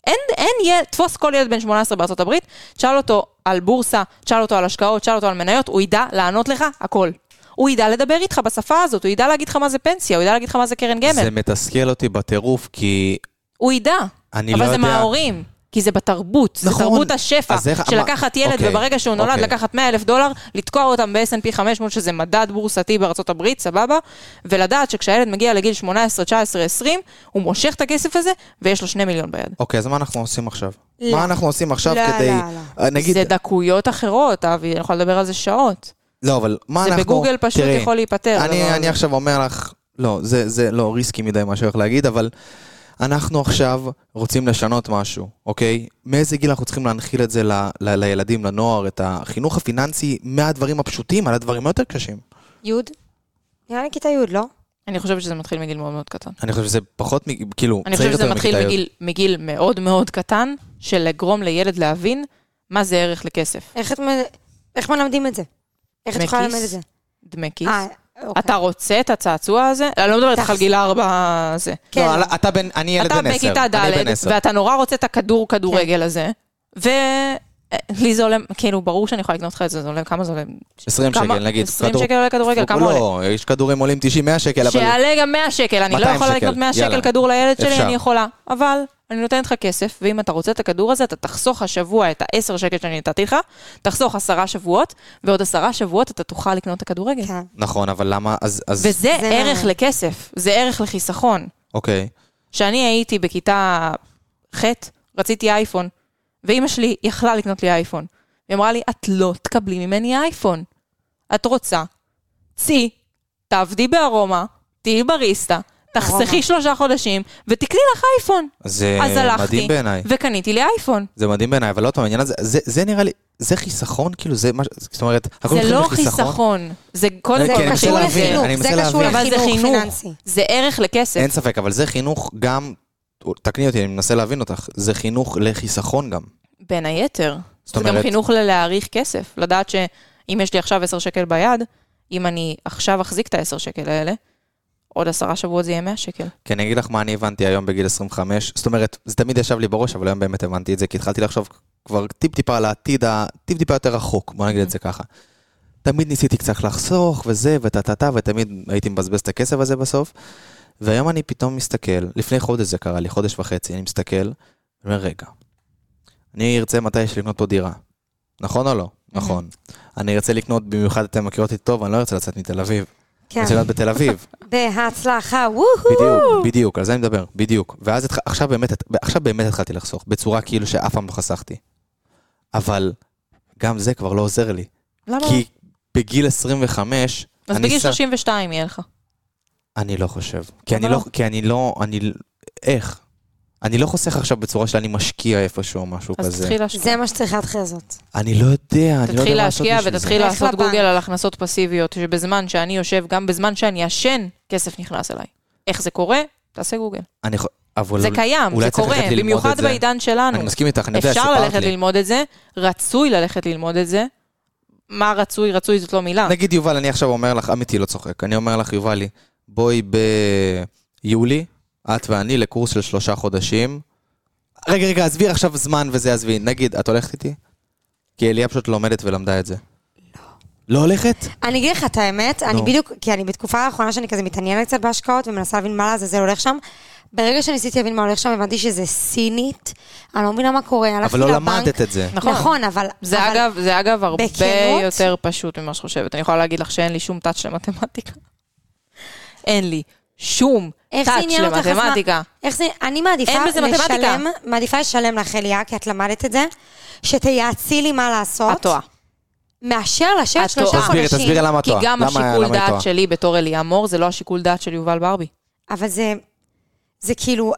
[SPEAKER 2] אין, אין, ילד, תפוס כל ילד בן 18 בארצות הברית, תשאל אותו על בורסה, תשאל אותו על השקעות, תשאל אותו על מניות, הוא ידע לענות לך הכל. הוא ידע לדבר איתך בשפה הזאת, הוא ידע להגיד לך מה זה פנסיה, הוא ידע להגיד לך מה זה קרן גמל.
[SPEAKER 1] זה מתסכל אותי בטירוף, כי
[SPEAKER 2] הוא ידע.
[SPEAKER 1] אני
[SPEAKER 2] אבל
[SPEAKER 1] לא
[SPEAKER 2] זה
[SPEAKER 1] יודע-
[SPEAKER 2] מההורים. כי זה בתרבות, נכון, זה
[SPEAKER 1] נכון.
[SPEAKER 2] תרבות השפע,
[SPEAKER 1] אז איך-
[SPEAKER 2] של
[SPEAKER 1] מה-
[SPEAKER 2] לקחת ילד
[SPEAKER 1] אוקיי,
[SPEAKER 2] וברגע שהוא נולד
[SPEAKER 1] אוקיי.
[SPEAKER 2] לקחת 100 אלף דולר, לתקוע אותם ב-S&P 500 שזה מדד בורסתי בארצות הברית, סבבה? ולדעת שכשהילד מגיע לגיל 18, 19, 20, הוא מושך את הכסף הזה ויש לו 2 מיליון ביד.
[SPEAKER 1] אוקיי, אז מה אנחנו עושים עכשיו?
[SPEAKER 3] לא.
[SPEAKER 1] מה אנחנו עושים עכשיו
[SPEAKER 3] לא,
[SPEAKER 1] כדי...
[SPEAKER 3] לא,
[SPEAKER 1] אה, נגיד...
[SPEAKER 2] זה דקויות אחרות, אבי, אני יכולה לדבר על זה שעות.
[SPEAKER 1] לא, אבל מה
[SPEAKER 2] זה
[SPEAKER 1] אנחנו...
[SPEAKER 2] בגוגל פשוט
[SPEAKER 1] תראי,
[SPEAKER 2] יכול להיפתר, הדבר
[SPEAKER 1] אני,
[SPEAKER 2] הזה.
[SPEAKER 1] אני עכשיו אומר לך, לא, זה, זה לא ריסקי מדי מה שאני הולך להגיד, אבל אנחנו עכשיו רוצים לשנות משהו, אוקיי? מאיזה גיל אנחנו צריכים להנחיל את זה ל, ל, לילדים, לנוער, את החינוך הפיננסי מהדברים הפשוטים על הדברים היותר קשים?
[SPEAKER 3] יוד? נראה לי כיתה יוד, לא?
[SPEAKER 2] אני חושבת שזה מתחיל מגיל מאוד מאוד קטן.
[SPEAKER 1] אני חושב שזה פחות, מ- כאילו,
[SPEAKER 2] אני
[SPEAKER 1] צעיר
[SPEAKER 2] חושבת שזה
[SPEAKER 1] יותר
[SPEAKER 2] מתחיל
[SPEAKER 1] מכיתה י'.
[SPEAKER 2] מגיל, מגיל מאוד מאוד קטן, של לגרום לילד להבין מה זה ערך לכסף.
[SPEAKER 3] איך את מ- איך מלמדים את זה? איך את
[SPEAKER 2] דמי
[SPEAKER 3] יכולה
[SPEAKER 2] כיס?
[SPEAKER 3] ללמד את זה?
[SPEAKER 2] דמי כיס.
[SPEAKER 3] אה, אוקיי.
[SPEAKER 2] אתה רוצה את הצעצוע הזה? אני לא מדברת איתך על גיל ארבע זה.
[SPEAKER 3] כן.
[SPEAKER 1] לא, אתה בן, אני ילד
[SPEAKER 2] אתה
[SPEAKER 1] בן עשר.
[SPEAKER 2] בכיתה
[SPEAKER 1] אני
[SPEAKER 2] ד'
[SPEAKER 1] בן עשר.
[SPEAKER 2] ואתה נורא רוצה את הכדור
[SPEAKER 3] כן.
[SPEAKER 2] כדורגל הזה, ולי זה עולה, כאילו, ברור שאני יכולה לקנות לך את זה, זה עולה, כמה זה עולה?
[SPEAKER 1] 20
[SPEAKER 2] כמה?
[SPEAKER 1] שקל, נגיד.
[SPEAKER 2] 20
[SPEAKER 1] כדור-
[SPEAKER 2] שקל עולה כדורגל, כמה עולה?
[SPEAKER 1] לא, יש כדורים עולים 90, 100 שקל, אבל...
[SPEAKER 2] שיעלה גם 100 שקל, אני לא
[SPEAKER 1] 200
[SPEAKER 2] יכולה
[SPEAKER 1] שקל,
[SPEAKER 2] לקנות 100 שקל
[SPEAKER 1] יאללה.
[SPEAKER 2] כדור לילד שלי,
[SPEAKER 1] אפשר.
[SPEAKER 2] אני יכולה. אבל אני נותנת לך כסף, ואם אתה רוצה את הכדור הזה, אתה תחסוך השבוע את ה-10 שקל שאני נתתי לך, תחסוך עשרה שבועות, ועוד עשרה שבועות אתה תוכל לקנות את הכדורגל.
[SPEAKER 3] כן.
[SPEAKER 1] נכון, אבל למה, אז, אז,
[SPEAKER 2] וזה
[SPEAKER 3] זה
[SPEAKER 2] ערך
[SPEAKER 3] מעניין.
[SPEAKER 2] לכסף, זה ערך לחיסכון.
[SPEAKER 1] אוקיי.
[SPEAKER 2] כשאני הייתי בכיתה ח', רציתי אייפון, ואימא שלי יכלה לקנות לי אייפון. היא אמרה לי, את לא תקבלי ממני אייפון. את רוצה, צאי, תעבדי בארומה, תהיי בריסטה,
[SPEAKER 3] ארומה.
[SPEAKER 2] תחסכי שלושה חודשים, ותקני לך אייפון.
[SPEAKER 1] זה
[SPEAKER 2] אז הלכתי,
[SPEAKER 1] אה, מדהים בעיניי.
[SPEAKER 2] וקניתי לי אייפון.
[SPEAKER 1] זה מדהים בעיניי, אבל עוד פעם, העניין הזה, זה, זה נראה לי, זה חיסכון, כאילו, זה מה, ש- זאת אומרת, אנחנו
[SPEAKER 2] זה
[SPEAKER 1] הולכים
[SPEAKER 2] לא
[SPEAKER 1] לחיסכון.
[SPEAKER 2] חיסכון, זה קודם
[SPEAKER 1] כן,
[SPEAKER 2] כל
[SPEAKER 1] אני מנסה
[SPEAKER 2] קשור
[SPEAKER 1] להבין,
[SPEAKER 2] לחינוך,
[SPEAKER 1] אני
[SPEAKER 3] זה
[SPEAKER 1] מנסה
[SPEAKER 3] קשור
[SPEAKER 1] להבין.
[SPEAKER 2] אבל זה
[SPEAKER 3] לחינוך
[SPEAKER 2] חינוך,
[SPEAKER 3] פיננסי.
[SPEAKER 2] זה ערך לכסף.
[SPEAKER 1] אין ספק, אבל זה חינוך גם, תקני אותי, אני מנסה להבין אותך, זה חינוך לחיסכון גם.
[SPEAKER 2] בין היתר.
[SPEAKER 1] זאת
[SPEAKER 2] זה גם
[SPEAKER 1] אומרת-
[SPEAKER 2] חינוך ללהעריך כסף. לדעת שאם יש לי עכשיו 10 שקל ביד, אם אני עכשיו אחזיק את ה-10 שקל האלה, עוד עשרה שבועות זה יהיה 100 שקל.
[SPEAKER 1] כי אני אגיד לך מה אני הבנתי היום בגיל 25, זאת אומרת, זה תמיד ישב לי בראש, אבל היום באמת הבנתי את זה, כי התחלתי לחשוב כבר טיפ-טיפה על העתיד, ה- טיפ-טיפה יותר רחוק, בוא נגיד את זה ככה. תמיד ניסיתי קצת לחסוך וזה וטה-טה-טה, ותמיד הייתי מבזבז את הכסף הזה בסוף. והיום אני פתאום מסתכל, לפני חודש זה קרה לי, חודש וחצי, אני מסתכל, אומר, רגע, אני ארצה מתי יש לי לקנות פה דירה. נכון או לא? נכון. אני ארצה לקנות, במיוחד אתם מכירות אותי טוב, אני לא ארצה לצאת מתל אביב.
[SPEAKER 3] כן.
[SPEAKER 1] רוצה להיות בתל אביב.
[SPEAKER 3] בהצלחה, וואו.
[SPEAKER 1] בדיוק, בדיוק, על זה אני מדבר, בדיוק. ואז התח... עכשיו, באמת, עכשיו באמת התחלתי לחסוך, בצורה כאילו שאף פעם לא חסכתי. אבל גם זה כבר לא עוזר לי.
[SPEAKER 2] למה?
[SPEAKER 1] כי בגיל 25,
[SPEAKER 2] אז
[SPEAKER 1] אני
[SPEAKER 2] בגיל
[SPEAKER 1] שר-
[SPEAKER 2] 32 יהיה לך.
[SPEAKER 1] אני לא חושב. כי
[SPEAKER 2] למה
[SPEAKER 1] אני
[SPEAKER 2] לא?
[SPEAKER 1] לא, כי אני לא, אני, ל- איך? אני לא חוסך עכשיו בצורה שאני משקיע איפשהו או משהו
[SPEAKER 2] אז
[SPEAKER 1] כזה.
[SPEAKER 2] תתחיל להשקיע.
[SPEAKER 3] זה מה שצריכה להתחיל לעשות.
[SPEAKER 1] אני לא יודע, אני לא
[SPEAKER 2] תתחיל
[SPEAKER 1] יודע מה לעשות
[SPEAKER 2] להשקיע
[SPEAKER 1] בשביל זה.
[SPEAKER 2] ותתחיל
[SPEAKER 3] זה.
[SPEAKER 2] לעשות
[SPEAKER 3] לך לבנק.
[SPEAKER 2] גוגל על הכנסות פסיביות, שבזמן שאני יושב, גם בזמן שאני ישן, כסף נכנס אליי. איך זה קורה? תעשה גוגל.
[SPEAKER 1] אני יכול- אבל
[SPEAKER 2] זה קיים,
[SPEAKER 1] אולי
[SPEAKER 2] זה
[SPEAKER 1] צריך
[SPEAKER 2] קורה,
[SPEAKER 1] ללכת ללמוד את
[SPEAKER 2] במיוחד
[SPEAKER 1] זה.
[SPEAKER 2] בעידן שלנו.
[SPEAKER 1] אני מסכים איתך, אני יודע,
[SPEAKER 2] אפשר
[SPEAKER 1] סיפרת
[SPEAKER 2] ללכת
[SPEAKER 1] לי.
[SPEAKER 2] ללמוד את זה, רצוי ללכת ללמוד את זה. מה רצוי? רצוי זאת לא מילה.
[SPEAKER 1] נגיד יובל, אני עכשיו אומר לך, אמיתי, לא צוחק, אני אומר לך, יובלי, בואי ביולי, את ואני לקורס של שלושה חודשים. רגע, רגע, עזבי עכשיו זמן וזה, עזבי. נגיד, את הולכת איתי? כי אליה פשוט לומדת ולמדה את זה. לא. לא הולכת?
[SPEAKER 3] אני אגיד לך את האמת, אני
[SPEAKER 1] נו.
[SPEAKER 3] בדיוק, כי אני בתקופה האחרונה שאני כזה מתעניינת קצת בהשקעות ומנסה להבין מה לעזאזל הולך שם. ברגע שניסיתי להבין מה הולך שם, הבנתי שזה סינית, אני לא מבינה מה קורה, הלכתי
[SPEAKER 1] אבל לא
[SPEAKER 3] לבנק.
[SPEAKER 1] למדת את זה.
[SPEAKER 2] נכון.
[SPEAKER 3] נכון, אבל...
[SPEAKER 2] זה
[SPEAKER 3] אבל-
[SPEAKER 2] אגב, זה אגב הרבה
[SPEAKER 3] בכנות?
[SPEAKER 2] יותר פשוט ממה שאת חושבת. אני יכולה להגיד לך שאין לי שום טאץ' למתמטיקה. אין לי שום
[SPEAKER 3] איך זה
[SPEAKER 2] טאץ'
[SPEAKER 3] עניין אותך? אז מה-
[SPEAKER 2] למתמטיקה.
[SPEAKER 3] איך זה, אני מעדיפה
[SPEAKER 2] אין בזה מתמטיקה.
[SPEAKER 3] לשלם, מעדיפה לשלם לך אליה, כי את למדת את זה, שתייעצי לי מה לעשות.
[SPEAKER 2] את טועה.
[SPEAKER 3] מאשר לשבת
[SPEAKER 2] את
[SPEAKER 3] שלושה
[SPEAKER 2] טועה.
[SPEAKER 1] תסבירי,
[SPEAKER 3] חודשים.
[SPEAKER 1] תסבירי למה את
[SPEAKER 2] כי
[SPEAKER 1] טועה.
[SPEAKER 2] גם
[SPEAKER 1] למה-
[SPEAKER 2] השיקול
[SPEAKER 1] למה היא טועה?
[SPEAKER 2] דעת שלי בתור אליה מור זה לא השיקול דעת של יובל ברבי.
[SPEAKER 3] אבל זה, זה כאילו,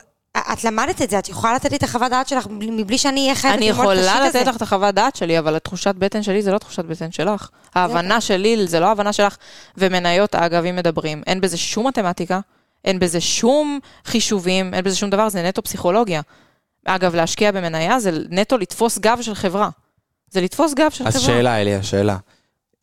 [SPEAKER 3] את למדת את זה, את יכולה לתת לי את החוות דעת שלך מבלי שאני אהיה חייבת
[SPEAKER 2] אני
[SPEAKER 3] ללמוד את השיט הזה.
[SPEAKER 2] יכולה לתת לך את החוות דעת שלי, אבל התחושת בטן שלי זה לא תחושת בטן שלך. ההבנה שלי זה לא ההבנה שלך. ומניות, אגב, אם מדברים, אין בזה שום מתמטיקה, אין בזה שום חישובים, אין בזה שום דבר, זה נטו פסיכולוגיה. אגב, להשקיע במניה זה נטו לתפוס גב של חברה. זה לתפוס גב של
[SPEAKER 1] אז
[SPEAKER 2] חברה.
[SPEAKER 1] שאלה, אליה, שאלה.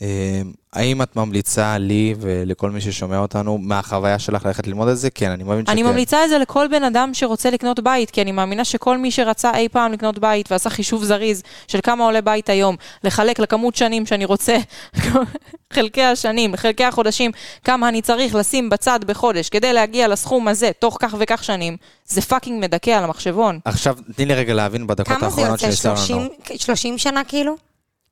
[SPEAKER 1] אה, האם את ממליצה לי ולכל מי ששומע אותנו מהחוויה שלך ללכת ללמוד את זה? כן, אני מאמין שכן.
[SPEAKER 2] אני ממליצה את זה לכל בן אדם שרוצה לקנות בית, כי אני מאמינה שכל מי שרצה אי פעם לקנות בית ועשה חישוב זריז של כמה עולה בית היום, לחלק לכמות שנים שאני רוצה, חלקי השנים, חלקי החודשים, כמה אני צריך לשים בצד בחודש כדי להגיע לסכום הזה תוך כך וכך שנים, זה פאקינג מדכא על המחשבון.
[SPEAKER 1] עכשיו, תני לי רגע להבין בדקות
[SPEAKER 3] כמה זה
[SPEAKER 1] האחרונות
[SPEAKER 3] יוצא?
[SPEAKER 1] שנשאר לנו.
[SPEAKER 3] 30, 30 שנה כאילו?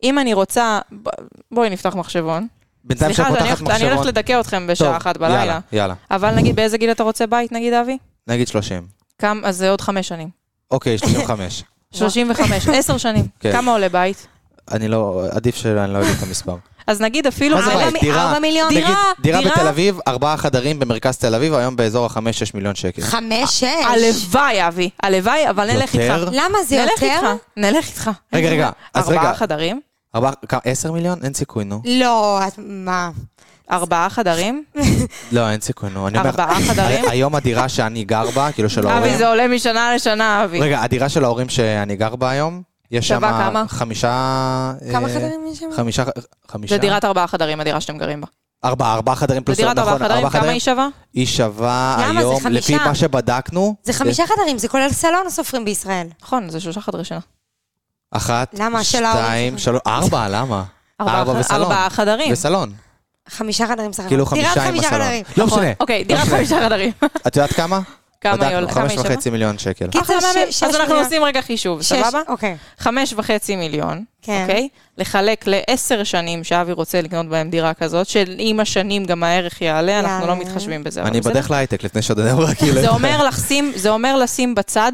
[SPEAKER 2] אם אני רוצה, ב- בואי נפתח מחשבון.
[SPEAKER 1] בינתיים
[SPEAKER 2] סליחה,
[SPEAKER 1] שאת
[SPEAKER 2] אז אני
[SPEAKER 1] פותחת
[SPEAKER 2] הולכת- אני הולכת
[SPEAKER 1] מחשבון.
[SPEAKER 2] לדכא אתכם בשעה
[SPEAKER 1] טוב,
[SPEAKER 2] אחת בלילה.
[SPEAKER 1] יאללה, יאללה.
[SPEAKER 2] אבל נגיד, באיזה גיל אתה רוצה בית, נגיד, אבי?
[SPEAKER 1] נגיד 30.
[SPEAKER 2] כמה, אז זה עוד חמש שנים.
[SPEAKER 1] אוקיי, 35.
[SPEAKER 2] 35, עשר שנים.
[SPEAKER 1] כן.
[SPEAKER 2] כמה עולה בית?
[SPEAKER 1] אני לא, עדיף שאני לא יודע את המספר.
[SPEAKER 2] אז נגיד אפילו...
[SPEAKER 1] מה זה
[SPEAKER 2] אבל-
[SPEAKER 3] לא, ארבע
[SPEAKER 1] בית?
[SPEAKER 3] מ-
[SPEAKER 1] דירה.
[SPEAKER 3] ארבע מיליון?
[SPEAKER 1] נגיד,
[SPEAKER 2] דירה,
[SPEAKER 1] דירה
[SPEAKER 2] דירה.
[SPEAKER 1] בתל אביב, ארבעה חדרים במרכז תל אביב, היום באזור ה-5-6 מיליון שקל.
[SPEAKER 3] חמש, שש.
[SPEAKER 2] הלוואי, אבי. הלוואי, אבל נלך איתך.
[SPEAKER 1] יותר?
[SPEAKER 3] למה זה
[SPEAKER 2] נלך
[SPEAKER 3] יותר?
[SPEAKER 2] איתך. נלך איתך.
[SPEAKER 1] רגע, רגע, אז רגע.
[SPEAKER 2] ארבעה חדרים?
[SPEAKER 1] ארבעה, כמה, 10 מיליון? אין סיכוי, נו.
[SPEAKER 3] לא, את מה?
[SPEAKER 2] ארבעה חדרים?
[SPEAKER 1] לא, אין סיכוי, נו. אני אומר,
[SPEAKER 2] ארבעה חדרים?
[SPEAKER 1] ה- היום הדירה שאני גר בה, כאילו
[SPEAKER 3] אה,
[SPEAKER 1] של ההורים...
[SPEAKER 2] אבי, זה עולה משנה לשנה, אבי.
[SPEAKER 1] רגע, הדירה של ההורים שאני גר בה היום, יש שם
[SPEAKER 2] שווה כמה?
[SPEAKER 1] חמישה...
[SPEAKER 3] כמה
[SPEAKER 1] אה,
[SPEAKER 3] חדרים יש שם?
[SPEAKER 1] חמישה... חמישה...
[SPEAKER 2] זה דירת ארבעה חדרים, הדירה שאתם גרים בה.
[SPEAKER 1] ארבעה, ארבעה חדרים
[SPEAKER 2] זה
[SPEAKER 1] פלוס...
[SPEAKER 2] דירת ארבעה
[SPEAKER 1] נכון,
[SPEAKER 2] חדרים, כמה היא שווה?
[SPEAKER 1] היא שווה
[SPEAKER 3] למה? זה
[SPEAKER 1] היום, לפי
[SPEAKER 3] חמישה.
[SPEAKER 1] מה שבדקנו...
[SPEAKER 3] זה חמישה חדרים, זה כולל סלון סופרים בישראל.
[SPEAKER 2] נכון, זה שלושה חדרי
[SPEAKER 1] אה,
[SPEAKER 2] שינה.
[SPEAKER 1] אחת,
[SPEAKER 3] למה? של ההורים
[SPEAKER 1] שתיים,
[SPEAKER 3] שלך.
[SPEAKER 1] שלוש... ארבע, למה?
[SPEAKER 2] ארבעה
[SPEAKER 1] ארבע
[SPEAKER 2] ח-
[SPEAKER 1] וסלון.
[SPEAKER 2] ארבעה חדרים.
[SPEAKER 1] וסלון.
[SPEAKER 3] חמישה חדרים סך הכל.
[SPEAKER 1] כאילו חמישה עם הסלון. לא
[SPEAKER 2] נכון.
[SPEAKER 1] משנה.
[SPEAKER 2] אוקיי,
[SPEAKER 1] לא
[SPEAKER 2] דירת
[SPEAKER 1] משנה.
[SPEAKER 2] חמישה חדרים.
[SPEAKER 1] את יודעת כמה?
[SPEAKER 2] כמה היא
[SPEAKER 1] בדקנו,
[SPEAKER 2] עולה? כן. כמה
[SPEAKER 1] חמש
[SPEAKER 2] היא שווה?
[SPEAKER 1] וחצי מיליון שקל.
[SPEAKER 3] קיצר,
[SPEAKER 2] אחלה,
[SPEAKER 3] ש-
[SPEAKER 2] מהמם.
[SPEAKER 3] שש
[SPEAKER 2] אז אנחנו
[SPEAKER 3] מיליון.
[SPEAKER 2] עושים רגע חישוב,
[SPEAKER 3] שש,
[SPEAKER 2] סבבה?
[SPEAKER 3] אוקיי.
[SPEAKER 2] חמש וחצי מיליון,
[SPEAKER 3] כן.
[SPEAKER 2] אוקיי? לחלק לעשר שנים שאבי רוצה לקנות בהם דירה כזאת, שעם השנים גם הערך יעלה, אנחנו לא
[SPEAKER 3] יעלה.
[SPEAKER 2] מתחשבים בזה. אבל
[SPEAKER 1] אני
[SPEAKER 2] בסדר?
[SPEAKER 1] בדרך להייטק לפני שעוד אני אומר, כאילו...
[SPEAKER 2] זה אומר, לשים, זה אומר לשים בצד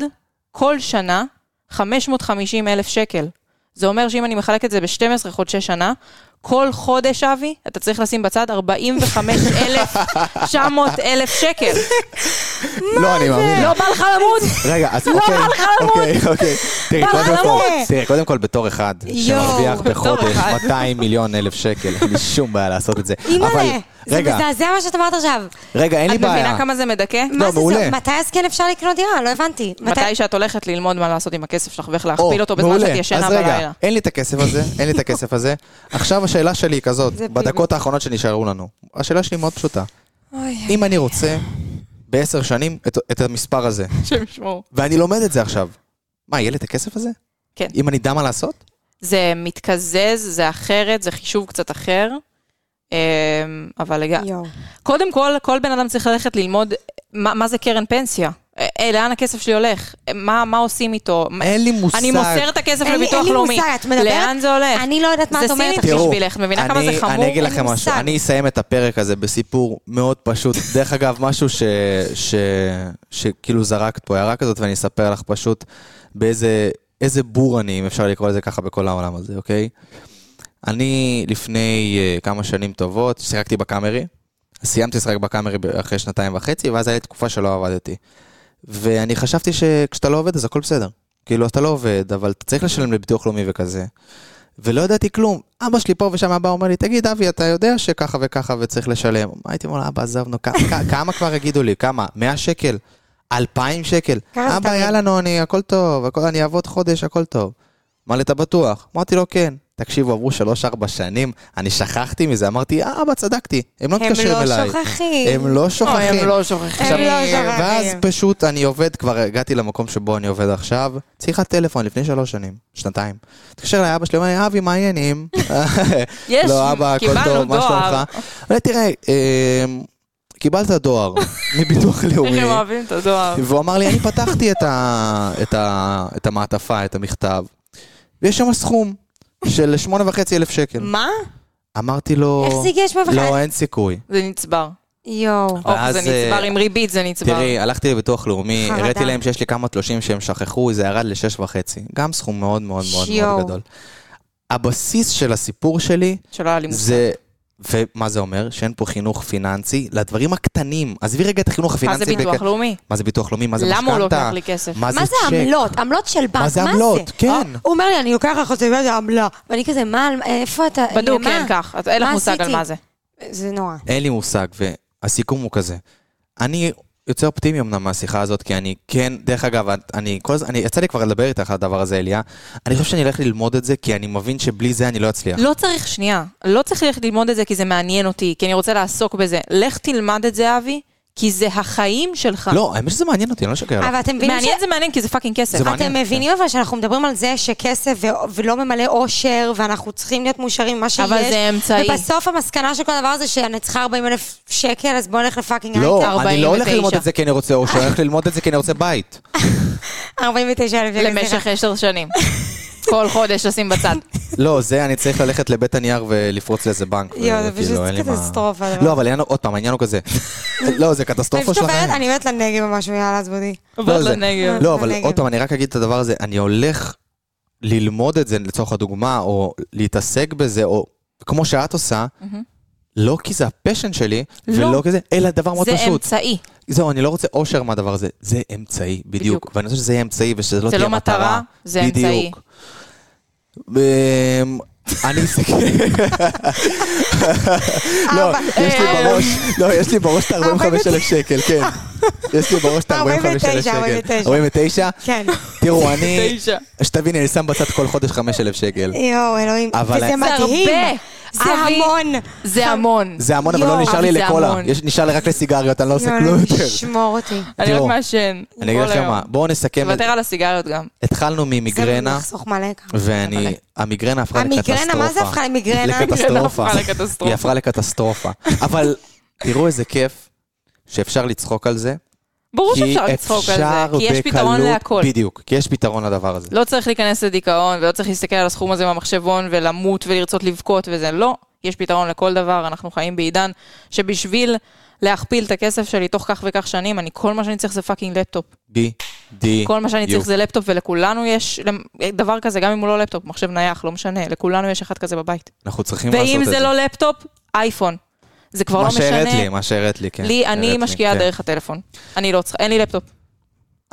[SPEAKER 2] כל שנה 550 אלף שקל. זה אומר שאם אני מחלק את זה ב-12 חודשי שנה, כל חודש, אבי, אתה צריך לשים בצד 45,900 אלף שקל.
[SPEAKER 1] לא, אני מאמין.
[SPEAKER 2] לא בא לך למות?
[SPEAKER 1] רגע, אז אוקיי, אוקיי, אוקיי. תראי,
[SPEAKER 2] בא
[SPEAKER 1] קודם
[SPEAKER 2] לך
[SPEAKER 1] כל,
[SPEAKER 3] למות.
[SPEAKER 1] תראי, קודם כל בתור אחד
[SPEAKER 3] יואו.
[SPEAKER 1] שמרוויח
[SPEAKER 2] בתור
[SPEAKER 1] בחודש
[SPEAKER 2] אחד.
[SPEAKER 1] 200 מיליון אלף שקל, אין לי שום בעיה לעשות את זה. אבל,
[SPEAKER 3] אימא'לה, זה
[SPEAKER 1] רגע,
[SPEAKER 3] מזעזע מה שאת אמרת עכשיו.
[SPEAKER 1] רגע, אין לי
[SPEAKER 2] את מבינה
[SPEAKER 1] בעיה. לא,
[SPEAKER 2] כמה זה מדכא?
[SPEAKER 3] מה זה
[SPEAKER 1] מעולה.
[SPEAKER 3] זה? מתי אז כן אפשר לקנות דירה? לא הבנתי.
[SPEAKER 2] מתי שאת הולכת ללמוד מה לעשות עם הכסף שלך ואיך
[SPEAKER 1] או,
[SPEAKER 2] להכפיל אותו בזמן
[SPEAKER 1] מעולה.
[SPEAKER 2] שאת ישנה
[SPEAKER 1] אז
[SPEAKER 2] בלילה.
[SPEAKER 1] רגע, אין לי את הכסף הזה, אין לי את הכסף הזה. עכשיו השאלה שלי היא כזאת,
[SPEAKER 3] זה
[SPEAKER 1] בדקות האחרונות שנשארו לנו. השאלה שלי מאוד פשוטה. אם אני רוצה בעשר שנים את- את המספר הזה,
[SPEAKER 2] שהם ישמעו.
[SPEAKER 1] ואני לומד את זה עכשיו, מה, יהיה לי את הכסף הזה?
[SPEAKER 2] כן.
[SPEAKER 1] אם אני אדע מה לעשות?
[SPEAKER 2] זה מתקזז, זה אחרת, זה חישוב קצת אחר. אמ, אבל לגמרי.
[SPEAKER 3] יואו.
[SPEAKER 2] קודם כל, כל בן אדם צריך ללכת ללמוד מה, מה זה קרן פנסיה. אה, אה, לאן הכסף שלי הולך? אה, מה, מה עושים איתו? מה-
[SPEAKER 1] אין לי מושג.
[SPEAKER 2] אני מוסר את הכסף
[SPEAKER 3] אין לי-
[SPEAKER 2] לביטוח
[SPEAKER 3] אין לי
[SPEAKER 2] לאומי.
[SPEAKER 3] מושג, את מדברת?
[SPEAKER 2] לאן זה הולך?
[SPEAKER 3] אני לא יודעת מה את
[SPEAKER 2] זה
[SPEAKER 3] אומרת
[SPEAKER 2] סינית
[SPEAKER 3] עכשיו.
[SPEAKER 2] בשבילך, את מבינה כמה זה
[SPEAKER 1] אני-
[SPEAKER 2] חמור?
[SPEAKER 1] אני אגיד
[SPEAKER 3] אין לי
[SPEAKER 1] לכם משהו,
[SPEAKER 3] מושג.
[SPEAKER 1] אני אסיים את הפרק הזה בסיפור מאוד פשוט. דרך אגב, משהו ש- ש- שכאילו זרקת פה הערה כזאת, ואני אספר לך פשוט באיזה איזה בור אני, אם אפשר לקרוא לזה ככה בכל העולם הזה, אוקיי? אני לפני אה, כמה שנים טובות שיחקתי בקאמרי. סיימתי לשחק בקאמרי ב- אחרי שנתיים וחצי, ואז הייתה לי תקופה שלא עבדתי. ואני חשבתי שכשאתה לא עובד אז הכל בסדר. כאילו, אתה לא עובד, אבל אתה צריך לשלם לביטוח לאומי וכזה. ולא ידעתי כלום. אבא שלי פה ושם הבא אומר לי, תגיד, אבי, אתה יודע שככה וככה וצריך לשלם. הייתי אומר לו, אבא, עזב, נו, כ- כ- כמה כבר יגידו לי? כמה? 100 שקל? 2,000 שקל?
[SPEAKER 3] ככה זה
[SPEAKER 1] אבא,
[SPEAKER 3] תמיד.
[SPEAKER 1] יאללה, נו, אני, הכל טוב, הכל, אני אעבוד חודש, הכל טוב. אמר לי, אתה בטוח? אמרתי לו, כן. תקשיבו, עברו 3-4 שנים, אני שכחתי מזה, אמרתי, "אה, אבא, צדקתי, הם לא
[SPEAKER 3] הם
[SPEAKER 1] מתקשרים אליי.
[SPEAKER 3] לא שוכחים.
[SPEAKER 1] הם לא
[SPEAKER 2] לא,
[SPEAKER 1] שוכחים.
[SPEAKER 2] הם לא שוכחים.
[SPEAKER 1] עכשיו,
[SPEAKER 3] הם לא זרמים.
[SPEAKER 1] ואז פשוט אני עובד, כבר הגעתי למקום שבו אני עובד עכשיו, צריכת טלפון לפני שלוש שנים, שנתיים. התקשר אליי אבא שלי, אומר לי, אבי, מה העניינים?
[SPEAKER 2] יש,
[SPEAKER 1] לא, אבא, הכל
[SPEAKER 2] קיבלנו
[SPEAKER 1] טוב, מה
[SPEAKER 2] דואר.
[SPEAKER 1] שלומך? אמרתי, תראה, אמ, קיבלת דואר מביטוח
[SPEAKER 2] איך
[SPEAKER 1] לאומי.
[SPEAKER 2] הם אוהבים את הדואר.
[SPEAKER 1] והוא אמר לי, אני פתחתי את, ה, את, ה, את המעטפה, את המכתב, ויש שם סכום של שמונה וחצי אלף שקל.
[SPEAKER 2] מה?
[SPEAKER 1] אמרתי לו,
[SPEAKER 3] איך זה הגיע לשמונה וחצי?
[SPEAKER 1] לא, אין סיכוי.
[SPEAKER 2] זה נצבר.
[SPEAKER 3] יואו.
[SPEAKER 2] אוף,
[SPEAKER 1] ואז,
[SPEAKER 2] זה נצבר,
[SPEAKER 1] אה,
[SPEAKER 2] עם ריבית זה נצבר.
[SPEAKER 1] תראי, הלכתי לביטוח לאומי,
[SPEAKER 3] חרדה.
[SPEAKER 1] הראיתי להם שיש לי כמה תלושים שהם שכחו, זה ירד לשש וחצי. גם סכום מאוד מאוד מאוד מאוד
[SPEAKER 3] שיואו.
[SPEAKER 1] גדול. הבסיס של הסיפור שלי
[SPEAKER 2] שלא היה לי מושג.
[SPEAKER 1] זה... ומה זה אומר? שאין פה חינוך פיננסי לדברים הקטנים. עזבי רגע את החינוך
[SPEAKER 2] מה זה
[SPEAKER 1] הפיננסי.
[SPEAKER 2] ביטוח
[SPEAKER 1] בכ-
[SPEAKER 2] לאומי?
[SPEAKER 1] מה זה ביטוח לאומי? מה זה משכנתה?
[SPEAKER 2] למה הוא לא לוקח לי כסף?
[SPEAKER 3] מה זה
[SPEAKER 1] צ'ק?
[SPEAKER 3] עמלות? עמלות של בנק, אה,
[SPEAKER 1] מה זה עמלות? כן.
[SPEAKER 3] הוא אומר לי, אני לוקח לך חצי זה עמלה. ואני כזה, מה, איפה אתה,
[SPEAKER 2] בדוק,
[SPEAKER 3] למה?
[SPEAKER 2] כן, כך. אז אין לך
[SPEAKER 3] מה
[SPEAKER 2] מושג על
[SPEAKER 3] עשיתי?
[SPEAKER 2] מה זה.
[SPEAKER 3] זה נורא.
[SPEAKER 1] אין לי מושג, והסיכום הוא כזה. אני יוצא אופטימי אמנם מהשיחה הזאת, כי אני כן, דרך אגב, אני כל הזמן, אני- יצא לי כבר לדבר איתך על הדבר הזה, אליה. אני חושב שאני אלך ללמוד את זה, כי אני מבין שבלי זה אני לא אצליח.
[SPEAKER 2] לא צריך, שנייה. לא צריך ללכת ללמוד את זה כי זה מעניין אותי, כי אני רוצה לעסוק בזה. לך תלמד את זה, אבי, כי זה החיים שלך.
[SPEAKER 1] לא, האמת שזה מעניין אותי, אני לא משקר לך.
[SPEAKER 3] אבל אתם מבינים ש...
[SPEAKER 2] מעניין זה מעניין, כי זה פאקינג כסף.
[SPEAKER 1] זה מעניין. כן.
[SPEAKER 3] אתם מבינים אבל שאנחנו מדברים על זה שכסף ו- ולא ממלא אושר, ואנחנו צריכים להיות מאושרים ממה שיש.
[SPEAKER 2] אבל זה אמצעי.
[SPEAKER 3] ובסוף המסקנה של כל הדבר הזה שאני צריכה 40 אלף שקל, אז בואו נלך לפאקינג הייטק.
[SPEAKER 1] לא, אני לא הולך
[SPEAKER 2] 49.
[SPEAKER 1] ללמוד את זה כי אני רוצה אושר, אני הולך ללמוד את זה כי אני רוצה בית.
[SPEAKER 3] 49 אלף שקל.
[SPEAKER 2] למשך עשר שנים. כל חודש לשים בצד.
[SPEAKER 1] לא, זה, אני צריך ללכת לבית הנייר ולפרוץ לאיזה בנק.
[SPEAKER 3] יואו, זה
[SPEAKER 1] וכאילו,
[SPEAKER 3] פשוט
[SPEAKER 1] אין לי מה-
[SPEAKER 3] קטסטרופה, הדבר.
[SPEAKER 1] לא, אבל העניין הוא- עוד פעם, העניין הוא כזה. לא, זה קטסטרופה
[SPEAKER 3] פשוט
[SPEAKER 1] שלכם.
[SPEAKER 3] עוברת, אני עוברת לנגב או משהו, יאללה, אז בודי.
[SPEAKER 1] לא,
[SPEAKER 2] עברת
[SPEAKER 1] זה-
[SPEAKER 2] לנגב.
[SPEAKER 1] לא, אבל
[SPEAKER 3] לנגב.
[SPEAKER 1] עוד פעם, אני רק אגיד את הדבר הזה, אני הולך ללמוד את זה לצורך הדוגמה, או להתעסק בזה, או כמו שאת עושה, לא כי זה הפשן שלי,
[SPEAKER 2] לא.
[SPEAKER 1] ולא כזה, אלא דבר מאוד
[SPEAKER 2] זה
[SPEAKER 1] פשוט.
[SPEAKER 2] אמצעי.
[SPEAKER 1] זהו, אני לא רוצה אושר מהדבר הזה, זה אמצעי, בדיוק.
[SPEAKER 2] בדיוק.
[SPEAKER 1] ואני רוצה שזה יהיה אמצעי ושזה לא
[SPEAKER 2] זה
[SPEAKER 1] תהיה
[SPEAKER 2] לא מטרה,
[SPEAKER 1] מטרה.
[SPEAKER 2] זה אמצעי.
[SPEAKER 1] בדיוק. אמ, אני אסתכל, לא,
[SPEAKER 3] ארבע-
[SPEAKER 1] יש לי
[SPEAKER 2] אה,
[SPEAKER 1] בראש, לא, יש לי בראש את ה-45,000 שקל, כן. יש לי בראש את ה-45,000
[SPEAKER 3] 49,000,
[SPEAKER 1] שקל.
[SPEAKER 3] 49,000.
[SPEAKER 1] 49?
[SPEAKER 3] כן.
[SPEAKER 1] תראו, אני,
[SPEAKER 2] תשע.
[SPEAKER 1] שתביני, אני שם בצד כל חודש 5,000 שקל.
[SPEAKER 3] יואו, אלוהים.
[SPEAKER 1] אבל-
[SPEAKER 3] וזה
[SPEAKER 1] זה
[SPEAKER 3] מדהים.
[SPEAKER 2] הרבה.
[SPEAKER 3] זה
[SPEAKER 2] אבי,
[SPEAKER 3] המון.
[SPEAKER 2] זה המון.
[SPEAKER 1] זה המון, אבל לא
[SPEAKER 3] יואו,
[SPEAKER 1] נשאר לי
[SPEAKER 2] אבל זה
[SPEAKER 1] לקולה.
[SPEAKER 2] המון.
[SPEAKER 1] יש- נשאר לי רק לסיגריות, אני לא עושה
[SPEAKER 3] יואו,
[SPEAKER 1] כלום
[SPEAKER 3] אלוהים,
[SPEAKER 1] יותר.
[SPEAKER 3] שמור אותי.
[SPEAKER 2] אני רק
[SPEAKER 1] תראו,
[SPEAKER 2] מעשן.
[SPEAKER 1] אני אגיד
[SPEAKER 2] כל
[SPEAKER 1] לכם
[SPEAKER 2] היום.
[SPEAKER 1] מה, כן, בואו נסכם. את-
[SPEAKER 2] תוותר על הסיגריות גם.
[SPEAKER 1] התחלנו ממיגרנה,
[SPEAKER 3] נחסוך מלא ככה.
[SPEAKER 1] ואני,
[SPEAKER 2] מלא.
[SPEAKER 1] המיגרנה הפכה לקטסטרופה.
[SPEAKER 3] המיגרנה, מה זה הפכה למיגרנה?
[SPEAKER 1] לקטסטרופה.
[SPEAKER 2] הפכה לקטסטרופה.
[SPEAKER 1] היא הפכה לקטסטרופה. אבל תראו איזה כיף שאפשר לצחוק על זה.
[SPEAKER 2] ברור
[SPEAKER 1] כי
[SPEAKER 2] שאפשר לצחוק על זה,
[SPEAKER 1] אפשר
[SPEAKER 2] כי יש פתרון
[SPEAKER 1] בקלות-
[SPEAKER 2] להכל.
[SPEAKER 1] בדיוק, כי יש פתרון לדבר הזה.
[SPEAKER 2] לא צריך להיכנס לדיכאון, ולא צריך להסתכל על הסכום הזה במחשבון, ולמות ולרצות לבכות וזה. לא, יש פתרון לכל דבר, אנחנו חיים בעידן שבשביל להכפיל את הכסף שלי תוך כך וכך שנים, אני כל מה שאני צריך זה פאקינג לפטופ.
[SPEAKER 1] בדיוק.
[SPEAKER 2] כל מה שאני צריך זה לפטופ, ולכולנו יש למ- דבר כזה, גם אם הוא לא לפטופ, מחשב נייח, לא משנה, לכולנו יש אחד כזה בבית.
[SPEAKER 1] אנחנו צריכים לעשות את זה.
[SPEAKER 2] ואם זה לא לפטופ, אייפון. זה כבר לא
[SPEAKER 1] מה שהראית לי,
[SPEAKER 2] משנה.
[SPEAKER 1] מה שהראית לי, כן.
[SPEAKER 2] לי,
[SPEAKER 1] הראית
[SPEAKER 2] אני
[SPEAKER 1] לי,
[SPEAKER 2] משקיעה
[SPEAKER 1] כן.
[SPEAKER 2] דרך הטלפון. אני לא צריכה, אין לי לפטופ.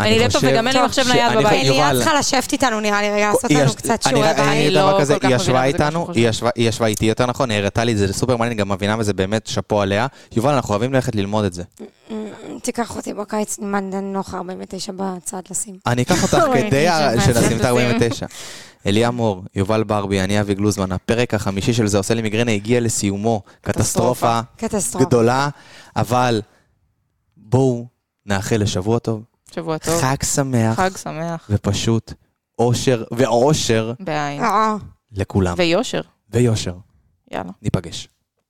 [SPEAKER 1] אני
[SPEAKER 2] אין לי לפטופ
[SPEAKER 1] חושב-
[SPEAKER 2] וגם אין לי
[SPEAKER 1] טוב,
[SPEAKER 2] מחשב
[SPEAKER 1] ש-
[SPEAKER 2] נייד
[SPEAKER 1] אני חושב-
[SPEAKER 2] בבית.
[SPEAKER 1] יובל,
[SPEAKER 3] אליה צריכה לשבת איתנו, נראה לי, רגע, לעשות
[SPEAKER 1] היא
[SPEAKER 3] לנו
[SPEAKER 1] יש-
[SPEAKER 3] קצת
[SPEAKER 1] אני
[SPEAKER 3] שיעורי
[SPEAKER 1] ר- אני
[SPEAKER 3] בית.
[SPEAKER 1] אגיד דבר
[SPEAKER 2] לא
[SPEAKER 1] כזה,
[SPEAKER 2] כל כך
[SPEAKER 1] היא
[SPEAKER 2] מבינה
[SPEAKER 1] ישבה
[SPEAKER 2] בזה כמו
[SPEAKER 1] איתנו,
[SPEAKER 2] שחושבים.
[SPEAKER 1] היא ישבה- היא ישבה איתי יותר נכון, היא הראתה לי את זה, זה סופר מעניין, גם מבינה בזה באמת, שאפו עליה. יובל, אנחנו אוהבים ללכת ללמוד את זה.
[SPEAKER 3] תיקח אותי בקיץ, נלמד נוח 49 בצד לשים.
[SPEAKER 1] אני אקח אותך
[SPEAKER 3] אוי,
[SPEAKER 1] כדי ה-
[SPEAKER 3] אני שומעת.
[SPEAKER 1] שנשים את ה-49. אליה מור, יובל ברבי, אני אבי גלוזמן, הפרק החמישי של זה עושה לי מיגרנה הגיע לסיומו. קטסטרופה
[SPEAKER 3] קטסטרופה.
[SPEAKER 1] גדולה, אבל בואו נאחל לשבוע טוב,
[SPEAKER 2] שבוע טוב,
[SPEAKER 1] חג שמח,
[SPEAKER 2] חג שמח,
[SPEAKER 1] ופשוט אושר, ואושר
[SPEAKER 2] בעין.
[SPEAKER 3] אה.
[SPEAKER 1] לכולם,
[SPEAKER 2] ויושר,
[SPEAKER 1] ויושר.
[SPEAKER 2] יאללה.
[SPEAKER 1] ניפגש.